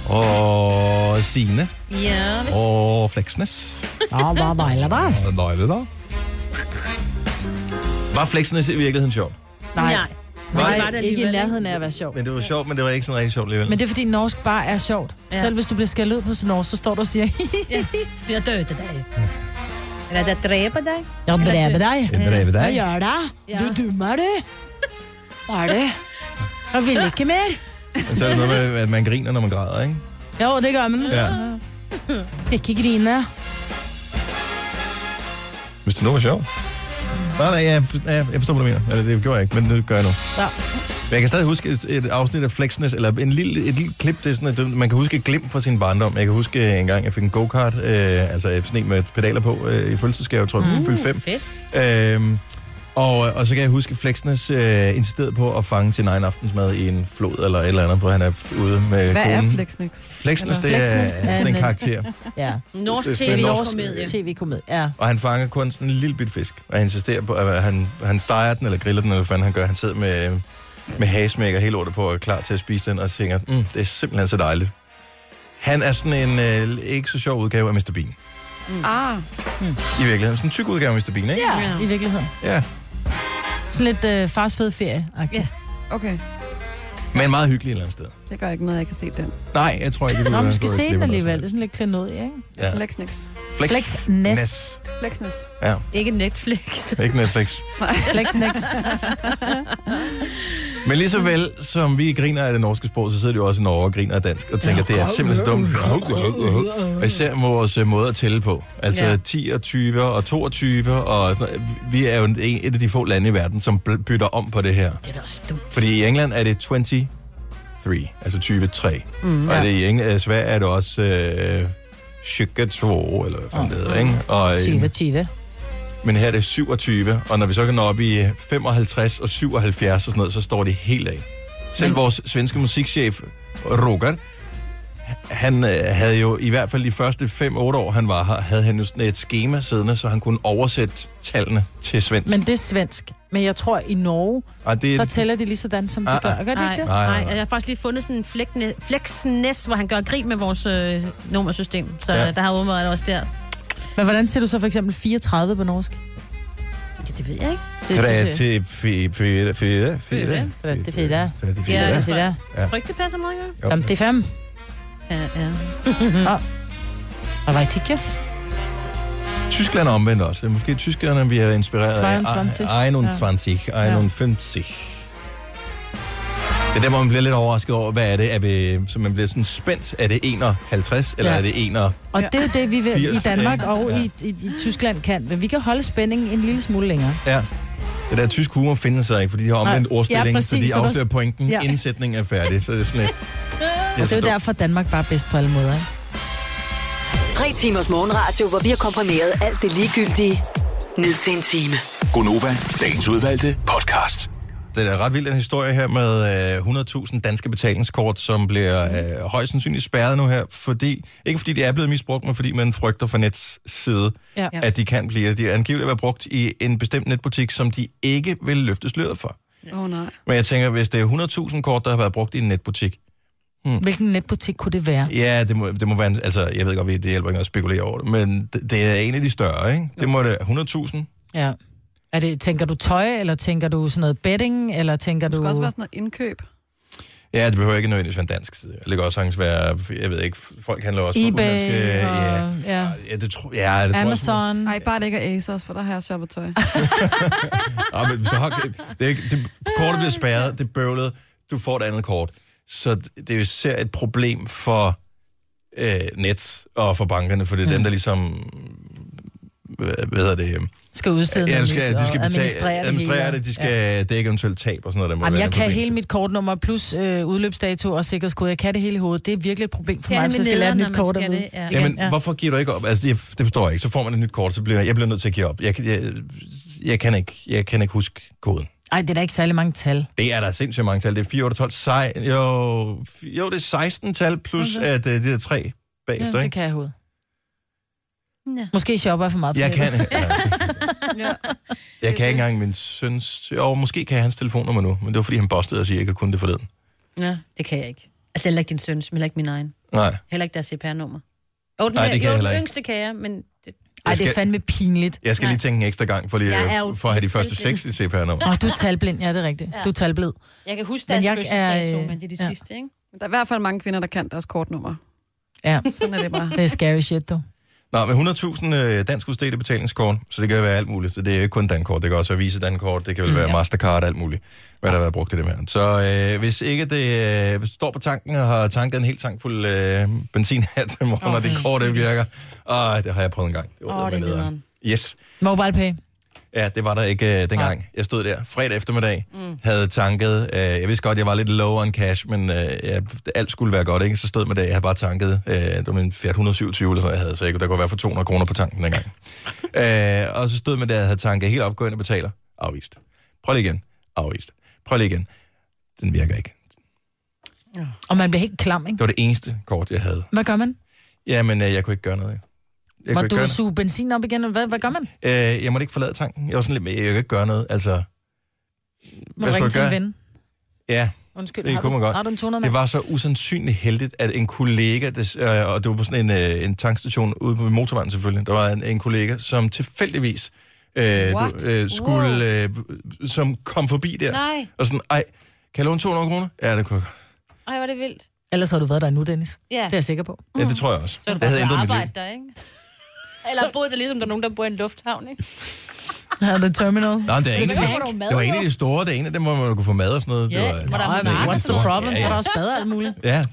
S1: Og Signe.
S2: Ja, hvis...
S1: Og Fleksnes.
S3: Ja, hvad dejligt da.
S1: Dejligt da. Var Fleksnes i virkeligheden sjov?
S3: Nej.
S2: Nej.
S1: Nej,
S3: Nej, Nej ikke i nærheden af at være sjov.
S1: Men det var sjovt, men det var ikke sådan rigtig sjovt alligevel.
S3: Men det er fordi norsk bare er sjovt. Ja. Selv hvis du bliver skældt ud på sin norsk, så står du og siger, <laughs>
S2: ja, jeg døde dig. Eller der dræber dig.
S3: jeg dræber dig.
S1: Jeg dræber dig.
S3: Hvad gør dig?
S2: Ja.
S3: Du er dummer, du. Hvad er <laughs> det? Jeg vil ikke mere.
S1: Men så er det noget med, at man griner, når man græder, ikke?
S3: Jo, det gør man.
S1: Ja.
S3: Jeg skal ikke grine.
S1: Hvis det nu var sjovt. Nej, nej, jeg, jeg, jeg forstår, hvad du mener. Eller det gjorde jeg ikke, men det gør jeg nu.
S3: Ja.
S1: Men jeg kan stadig huske et, et afsnit af Flexness, eller en lille, et lille klip, det er sådan, at det- man kan huske et glimt fra sin barndom. Jeg kan huske øh, en gang, jeg fik en go-kart, øh, altså sådan en med pedaler på, øh, i fødselsdagsgave, tror jeg, mm, fyldte fem. Øhm, og, og så kan jeg huske, at Flexnes øh, insisterede på at fange sin egen aftensmad i en flod eller et eller andet, hvor han er ude med
S19: Hvad er
S1: Øh, konen.
S19: Flexnix?
S1: Flexness, det
S19: Eller-
S1: er, sådan en karakter.
S3: Ja.
S1: Norsk Det er tv, norsk norsk komedie.
S3: tv-komedie. Ja.
S1: Og han fanger kun sådan en lille bit fisk. Og han insisterer på, at han, han steger den, eller griller den, eller hvad fanden han gør. Han sidder med, med hagesmæk og hele lortet på, og er klar til at spise den, og tænker, mm, det er simpelthen så dejligt. Han er sådan en øh, ikke så sjov udgave af Mr. Bean.
S19: Mm. Ah.
S1: I virkeligheden. Sådan en tyk udgave af Mr. Bean, ikke?
S3: ja, i virkeligheden.
S1: Ja.
S3: Sådan lidt øh, fars fede ferie Ja.
S19: Okay,
S1: Men meget hyggelig et eller andet sted.
S19: det gør ikke noget, jeg kan se den.
S1: Nej, jeg tror ikke, det
S3: Nå, man
S1: man
S3: skal se den alligevel. Det er sådan lidt klædt ud, ikke?
S1: Ja.
S19: Flexnix.
S1: Flex.
S3: Flexness.
S1: Ness.
S19: Flexness.
S1: Ja,
S2: Ikke Netflix.
S1: ikke Netflix.
S3: Flexnix.
S1: Men lige så vel, som vi griner af det norske sprog, så sidder de jo også i Norge og griner af dansk, og tænker, det er simpelthen så dumt. Og især med vores øh, måde at tælle på. Altså
S20: Ja.
S1: ja. 10 og 20 og 22, og sådan noget. vi er jo en- et af de få lande i verden, som bl- bytter om på det her.
S2: Det er da også dumt.
S1: Fordi i England er det 23, altså 23. Mm,
S2: Mm.
S1: og
S2: Ja.
S1: det i England, øh, Sverige er det også øh, 22, eller hvad fanden det hedder, ikke? Og, øh,
S3: 27.
S1: men her er det 27, og når vi så kan nå op i 55 og 77 og sådan noget, så står det helt af.
S3: Mm.
S1: Selv vores svenske musikchef, Roger, han øh, havde jo i hvert fald de første 5-8 år, han var her, havde han jo sådan et schema siddende, så han kunne oversætte tallene til svensk.
S3: Men det er svensk. Men jeg tror, i Norge,
S1: og det,
S3: der tæller de lige sådan, som de
S1: Ah, ah.
S3: gør. Gør de
S2: Nej,
S3: ikke det?
S1: Nej, nej,
S2: <laughs> nej, jeg har faktisk lige fundet sådan en flekne, flexness, hvor han gør grin med vores øh, nummersystem. Så
S3: Ja.
S2: ja. der har åbenbart også der.
S3: Men hvordan ser du så for eksempel 34 på norsk?
S2: Det, det ved jeg ikke.
S1: Tre til fire, fire, fire, fire.
S3: 34.
S2: Ja, det
S3: 34.
S1: Ja.
S2: Tror du ikke, det passer meget godt?
S3: 55.
S2: Ja, <laughs> ja. Ah.
S3: Jeg ved ikke.
S1: Tyskland er omvendt også. Det er måske tyskerne, vi er inspireret af.
S3: 22,
S1: Ah, 21, 51. Det er der, hvor man bliver lidt overrasket over, hvad er det? Er vi, så man bliver sådan spændt. Er det 51, eller
S3: Ja.
S1: ja. er det 1?
S3: Og det er jo det, vi vil, i
S1: 80,
S3: Danmark
S1: ikke?
S3: og
S1: Ja.
S3: i, i, i Tyskland kan. Men vi kan holde spændingen en lille smule længere.
S1: Ja. Det der tysk humor finder sig ikke, fordi de har omvendt
S3: Nej.
S1: ordstilling,
S3: Ja,
S1: ja,
S3: præcis,
S1: så de
S3: så der-
S1: afslører pointen,
S3: Ja.
S1: ja. indsætningen er færdig. Så det er sådan
S3: <laughs>
S1: lidt...
S3: Og det er jo derfor, Danmark bare er bedst på alle måder. Ikke?
S5: Tre timers morgenradio, hvor vi har komprimeret alt det ligegyldige ned til en time.
S6: Gonova, dagens udvalgte podcast.
S1: det er ret vildt den historie her med øh, 100.000 danske betalingskort, som bliver øh, højst sandsynligt spærret nu her, fordi, ikke fordi de er blevet misbrugt, men fordi man frygter fra nets side,
S20: Ja.
S1: ja. at de kan blive det. De er angiveligt været brugt i en bestemt netbutik, som de ikke vil løfte sløret for.
S19: Åh oh, nej.
S1: Men jeg tænker, hvis det er 100.000 kort, der har været brugt i en netbutik, Mm.
S3: Hmm. Hvilken netbutik kunne det være?
S1: ja, det må, det må være, en, altså, jeg ved godt, det hjælper ikke at spekulere over det, men det, det er en af de større, ikke? Det må det 100.000.
S3: Ja. Er det, tænker du tøj, eller tænker du sådan noget bedding, eller tænker
S19: Det
S3: du...
S19: skal også være sådan noget indkøb.
S1: Ja, det behøver ikke nødvendigvis være en dansk side. Det kan også sagtens være, jeg ved ikke, folk handler også
S3: eBay
S1: på udenlandske...
S19: og-
S1: ja.
S19: ja.
S1: ja, det tror ja, det tror jeg.
S19: Ej, bare det ikke er Asos, for der har jeg shoppet
S2: <laughs>
S19: tøj.
S1: Nå, men hvis du har, det, er ikke- det, kortet bliver spærret, det er bøvlet, du får et andet kort. Så det er jo især et problem for øh, net og for bankerne, for det er mm. dem, der ligesom... Hvad, hvad hedder det? øhm,
S3: Skal udstede
S1: ja,
S3: noget
S1: de skal,
S3: nyt
S1: de skal
S3: og administrere
S1: betale,
S3: det
S1: administrere
S3: hele.
S1: det, de skal ja. dække eventuelt tab og sådan noget. Der må
S3: Jamen,
S1: være
S3: jeg
S1: den
S3: kan
S1: problem.
S3: hele mit kortnummer, plus øh, udløbsdato og sikkerhedskode. Jeg kan det hele i hovedet. Det er virkelig et problem for
S2: Det er
S3: mig, hvis jeg
S2: nemlig
S3: skal lære et
S2: nederen,
S3: nyt
S2: når man
S3: kort
S2: skal
S3: at vide.
S2: det, ja.
S1: Jamen, ja. hvorfor giver du ikke op? Altså, jeg, det forstår jeg ikke. Så får man et nyt kort, så bliver jeg, jeg bliver nødt til at give op. Jeg, kan- jeg, jeg, kan ikke, jeg kan ikke huske koden.
S3: Ej, det er da ikke særlig mange tal.
S1: Det er der sindssygt mange tal. Det er 4, 8, 12, sej, jo, f- jo, det er 16 tal, plus okay. at uh, det er tre bagefter,
S3: Ja, det
S1: ikke?
S3: kan jeg i hovedet. Ja. Måske shopper jeg for meget. på
S1: Jeg
S3: nettet. <laughs>
S1: kan, ja. jeg kan ikke engang min søns... Jo, måske kan jeg hans telefonnummer nu, men det var, fordi han bostede og siger, at jeg ikke kunne det forleden.
S2: Ja, det kan jeg ikke. Altså heller ikke din søns, men heller ikke min egen.
S1: Nej.
S2: Heller ikke deres CPR-nummer. Jo, den,
S1: Nej,
S2: Nej,
S1: det kan
S2: jo,
S1: jeg
S2: den
S1: heller ikke.
S2: yngste kan jeg, men... Det...
S3: Ej, det
S1: skal-
S3: er fandme pinligt.
S1: Jeg skal Nej. lige tænke en ekstra gang, for, lige,
S2: Jeg er jo
S1: øh, for at have de første seks i CPR-nummer.
S3: Åh, oh, du er talblind. Ja, det er rigtigt.
S19: Ja.
S3: Ja. Du er talblid.
S2: Jeg kan huske
S3: Men
S2: deres
S3: jeg
S2: fødselsdato,
S3: er, øh,
S2: men det er de
S3: ja.
S2: sidste, ikke?
S19: Der er i hvert fald mange kvinder, der kan deres kortnummer.
S3: Ja.
S19: Sådan er det bare.
S3: Det er scary shit, du.
S1: Nå, men 100.000 øh, dansk udstedte betalingskort, så det kan jo være alt muligt. Så det er jo ikke kun Dankort, det kan også være Visa Dankort, det kan vel være Mastercard, alt muligt, hvad der har været brugt i det her. Så øh, hvis ikke det øh, hvis du står på tanken og har tanket en helt tank fuld øh, benzin her til morgen, okay. og det kort det virker, og det har jeg prøvet en gang. Det var oh, det nederen. Yes.
S3: MobilePay.
S1: Ja, det var der ikke øh, dengang. Jeg stod der fredag eftermiddag, mm. havde tanket. Øh, jeg vidste godt, jeg var lidt low on cash, men øh, jeg, alt skulle være godt, ikke? Så stod med det, jeg havde bare tanket. Øh, det var min Fiat 127 eller sådan, jeg havde, så jeg, kunne- der kunne være for 200 kroner på tanken
S3: <laughs>
S1: dengang. øh, og så stod med det, jeg havde tanket helt opgående betaler. Afvist. Prøv lige igen. Afvist. Prøv lige igen. Den virker ikke.
S3: Og man bliver helt klam,
S1: Det
S3: ikke?
S1: var det eneste kort, jeg havde.
S3: Hvad gør man?
S1: Jamen, øh, jeg kunne ikke gøre noget. Jeg
S3: Må
S1: kunne ikke gøre
S3: du
S1: noget.
S3: suge benzin op igen? eller Hvad, hvad gør man?
S1: Øh, jeg måtte ikke forlade tanken. Jeg var sådan lidt, men jeg kan ikke gøre noget. Altså, Hvad
S3: Må du
S1: skal
S3: ringe
S1: jeg
S3: til en
S1: gøre?
S3: ven?
S1: Ja,
S3: Undskyld,
S1: det
S3: har
S1: kunne
S3: du-
S1: man godt.
S3: har du en 200 mand?
S1: Det var så usandsynligt heldigt, at en kollega, des, øh, og det var på sådan en, øh, en tankstation ude på motorvejen selvfølgelig, der var en, en kollega, som tilfældigvis øh,
S6: What?
S1: du, øh, skulle, øh, som kom forbi der,
S2: Nej.
S1: og sådan, ej, kan jeg låne 200 kroner? Ja, det kunne jeg godt.
S2: Ej, hvor er det vildt.
S3: Ellers har du været der nu, Dennis.
S2: Ja.
S3: Det er jeg sikker på. <laughs>
S1: Ja, det tror jeg også.
S2: Mm. Så er du
S1: det havde
S2: bare på
S1: ændret mit
S2: arbejde
S1: liv.
S2: der, ikke? Eller boede der ligesom, der er nogen, der bor i en lufthavn, ikke?
S3: Ja, The Terminal.
S1: Nå, men det, er en af
S2: <laughs> Så
S1: de-
S2: får du mad,
S1: det var en
S2: jo.
S1: af de store, det er en af dem, hvor man kunne få mad og sådan noget.
S2: Ja,
S1: det var,
S2: hvor der er
S1: det var en af de
S3: What's the
S1: store.
S3: problem?
S1: Ja,
S3: Så er
S1: ja.
S3: der også bader alt muligt.
S1: Ja,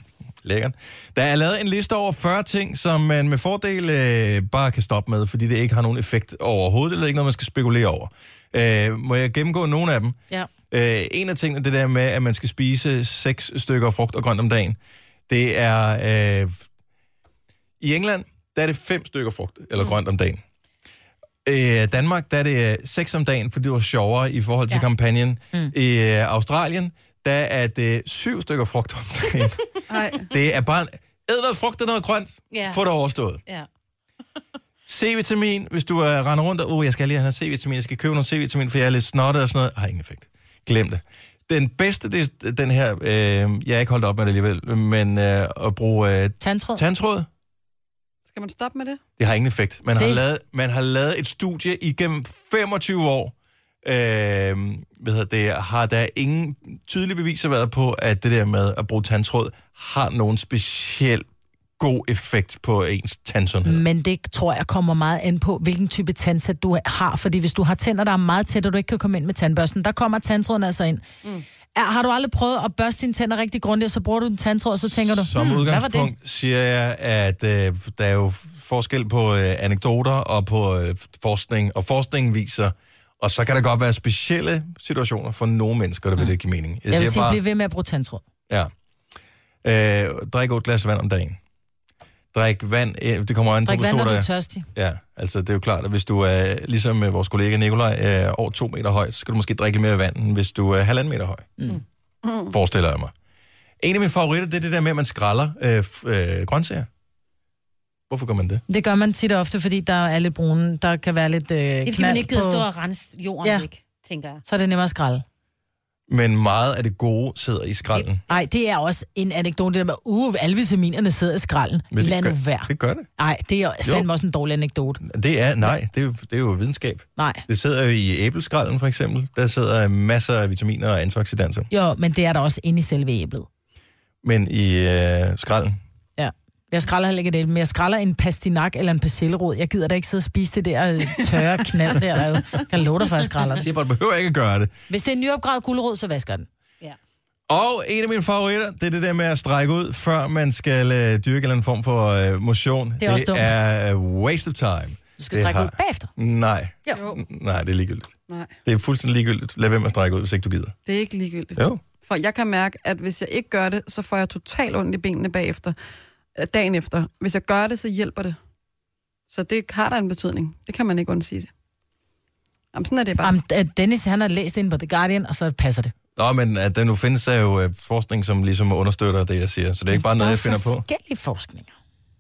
S1: lækkert. Der er lavet en liste over 40 ting, som man med fordel øh, bare kan stoppe med, fordi det ikke har nogen effekt overhovedet, eller ikke noget, man skal spekulere over. Øh, må jeg gennemgå nogle af dem?
S3: Ja.
S1: Øh, en af tingene, det der med, at man skal spise seks stykker frugt og grønt om dagen, det er... Øh, I England, der er det fem stykker frugt eller mm. grønt om dagen. Øh, Danmark, der er det øh, seks om dagen, fordi det var sjovere i forhold til ja. kampagnen. Mm. I øh, Australien, der er det øh, syv stykker frugt om <laughs> dagen.
S19: Ej.
S1: Det er bare... en- Æd noget frugt og noget grønt.
S2: Ja.
S1: Få det overstået.
S2: Ja.
S1: C-vitamin, hvis du uh, render rundt og... Oh, jeg skal lige have noget C-vitamin. Jeg skal købe noget C-vitamin, for jeg er lidt snottet og sådan noget. Har ingen effekt. Glem det. Den bedste, det er den her... Øh, jeg er ikke holdt op med det alligevel, men øh, at bruge... Øh,
S3: tandtråd.
S1: Tandtråd.
S19: Skal man stoppe med det?
S1: Det har ingen effekt. Man, har
S19: Det-
S1: lavet, man har lavet et studie igennem 25 år. Øh, hvad hedder det, har der ingen tydelige beviser været på, at det der med at bruge tandtråd har nogen speciel god effekt på ens tandsundhed.
S3: Men det tror jeg kommer meget an på, hvilken type tandsæt du har. Fordi hvis du har tænder, der er meget tæt, og du ikke kan komme ind med tandbørsten, der kommer tandtråden altså ind. Mm. Har du aldrig prøvet at børste dine tænder rigtig grundigt, og så bruger du en tandtråd, og så tænker du,
S1: Som
S3: hmm, hvad var det?
S1: udgangspunkt siger jeg, at øh, der er jo forskel på øh, anekdoter og på øh, forskning, og forskningen viser, og så kan der godt være specielle situationer for nogle mennesker, der vil det give mening. Jeg,
S3: Hmm. Jeg vil
S1: siger
S3: sige, bliv ved med at bruge tandtråd.
S1: Ja. Øh, drik otte glas vand om dagen. Drik vand. øh, Det kommer an på,
S3: Drik
S1: hvor
S3: vand,
S1: stor
S3: når du
S1: du
S3: er tørstig.
S1: Ja, altså det er jo klart, at hvis du er, ligesom øh, vores kollega Nikolaj, er over to meter høj, så skal du måske drikke lidt mere vand, end hvis du er halvanden meter høj,
S19: Mm.
S1: forestiller jeg mig. En af mine favoritter, det er det der med, at man skræller øh, f- øh, grøntsager. Hvorfor gør man det?
S3: Det gør man tit og ofte, fordi der er lidt brune, der kan være lidt øh,
S2: Det er fordi, man
S3: knald
S2: ikke gider
S3: på-
S2: stå og rense jorden
S3: Ja.
S2: ja. væk, tænker jeg.
S3: Så er det nemmere at skralde.
S1: Men meget af det gode sidder i skralden.
S3: Nej, det er også en anekdote, det der med, uh, alle vitaminerne sidder i skralden.
S1: Men det
S3: Lad nu
S1: gør-
S3: være.
S1: Det gør det.
S3: Nej, det er
S1: Jo.
S3: fandme også en dårlig anekdote.
S1: Det er, nej, det er, jo- det er jo videnskab.
S3: Nej.
S1: Det sidder jo i æbleskralden for eksempel. Der sidder masser af vitaminer og antioxidanter.
S3: Jo, men det er der også inde i selve æblet.
S1: Men i øh, skralden,
S3: Ja. Jeg skralder heller ikke det, men jeg skralder en pastinak eller en persillerod. Jeg gider da ikke sidde og spise det der øh, tørre knald der. derude. Jeg kan love dig for, at jeg skralder det.
S1: siger bare, du behøver ikke at gøre det.
S3: Hvis det er en nyopgravet gulerod, så vasker jeg den.
S1: Og en af mine favoritter, det er det der med at strække ud, før man skal øh, dyrke en eller anden form for øh, motion.
S3: Det er også dumt.
S1: Det er øh, waste of time.
S3: Du skal strække ud bagefter.
S1: Nej.
S19: Jo.
S1: Nej, det er ligegyldigt.
S19: Nej,
S1: Det er fuldstændig ligegyldigt. Lad være med at strække ud, hvis ikke du gider.
S19: det er ikke ligegyldigt.
S1: Jo.
S19: For jeg kan mærke, at hvis jeg ikke gør det, så får jeg totalt ondt i benene bagefter. øh, Dagen efter. Hvis jeg gør det, så hjælper det. Så det har der en betydning. Det kan man ikke undsige. Jamen, sådan er det bare.
S3: Jamen, øh, Dennis, han har læst ind på The Guardian, og så passer det.
S1: Nå, men at der nu findes der jo øh, forskning, som ligesom understøtter det, jeg siger. Så det er ikke bare noget, jeg finder på.
S3: forskellige forskninger.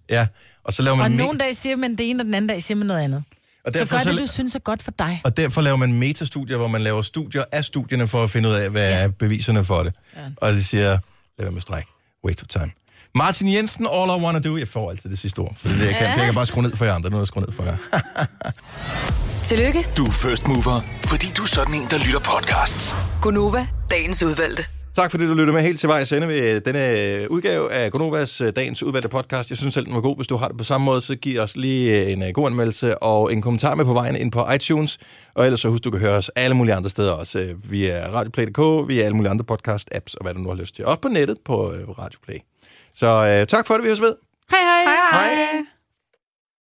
S1: Ja, og så laver
S3: Og
S1: man me-
S3: nogle dage siger man det ene, og den anden dag siger man noget andet.
S1: Og
S3: Og
S1: derfor
S3: så gør
S1: så-
S3: det, du synes er godt for dig.
S1: og derfor laver man metastudier, hvor man laver studier af studierne for at finde ud af, hvad ja. er beviserne for det. Ja. Og de siger, lad være med at strække. Waste of time. Martin Jensen, All I Wanna Do. Jeg får altid det sidste ord, for det, er det, jeg kan, det, jeg kan bare skrue ned for jer andre. Nu er jeg skruet ned for jer.
S5: Tillykke,
S6: Du er first mover, fordi du er sådan en, der lytter podcasts.
S5: Gunova, dagens udvalgte.
S1: Tak fordi du lyttede med helt til vejs ende ved denne øh, udgave af Gonovas øh, dagens udvalgte podcast. Jeg synes selv, den var god. Hvis du har det på samme måde, så giv os lige øh, en øh, god anmeldelse og en kommentar med på vejen ind på iTunes. Og ellers så husk, du kan høre os alle mulige andre steder også. Øh, Via radioplay.dk, via alle mulige andre podcast-apps og hvad du nu har lyst til. Også på nettet på øh, Radioplay. Så øh, tak for det, vi høres ved.
S3: Hej hej!
S19: Hej hej! hej.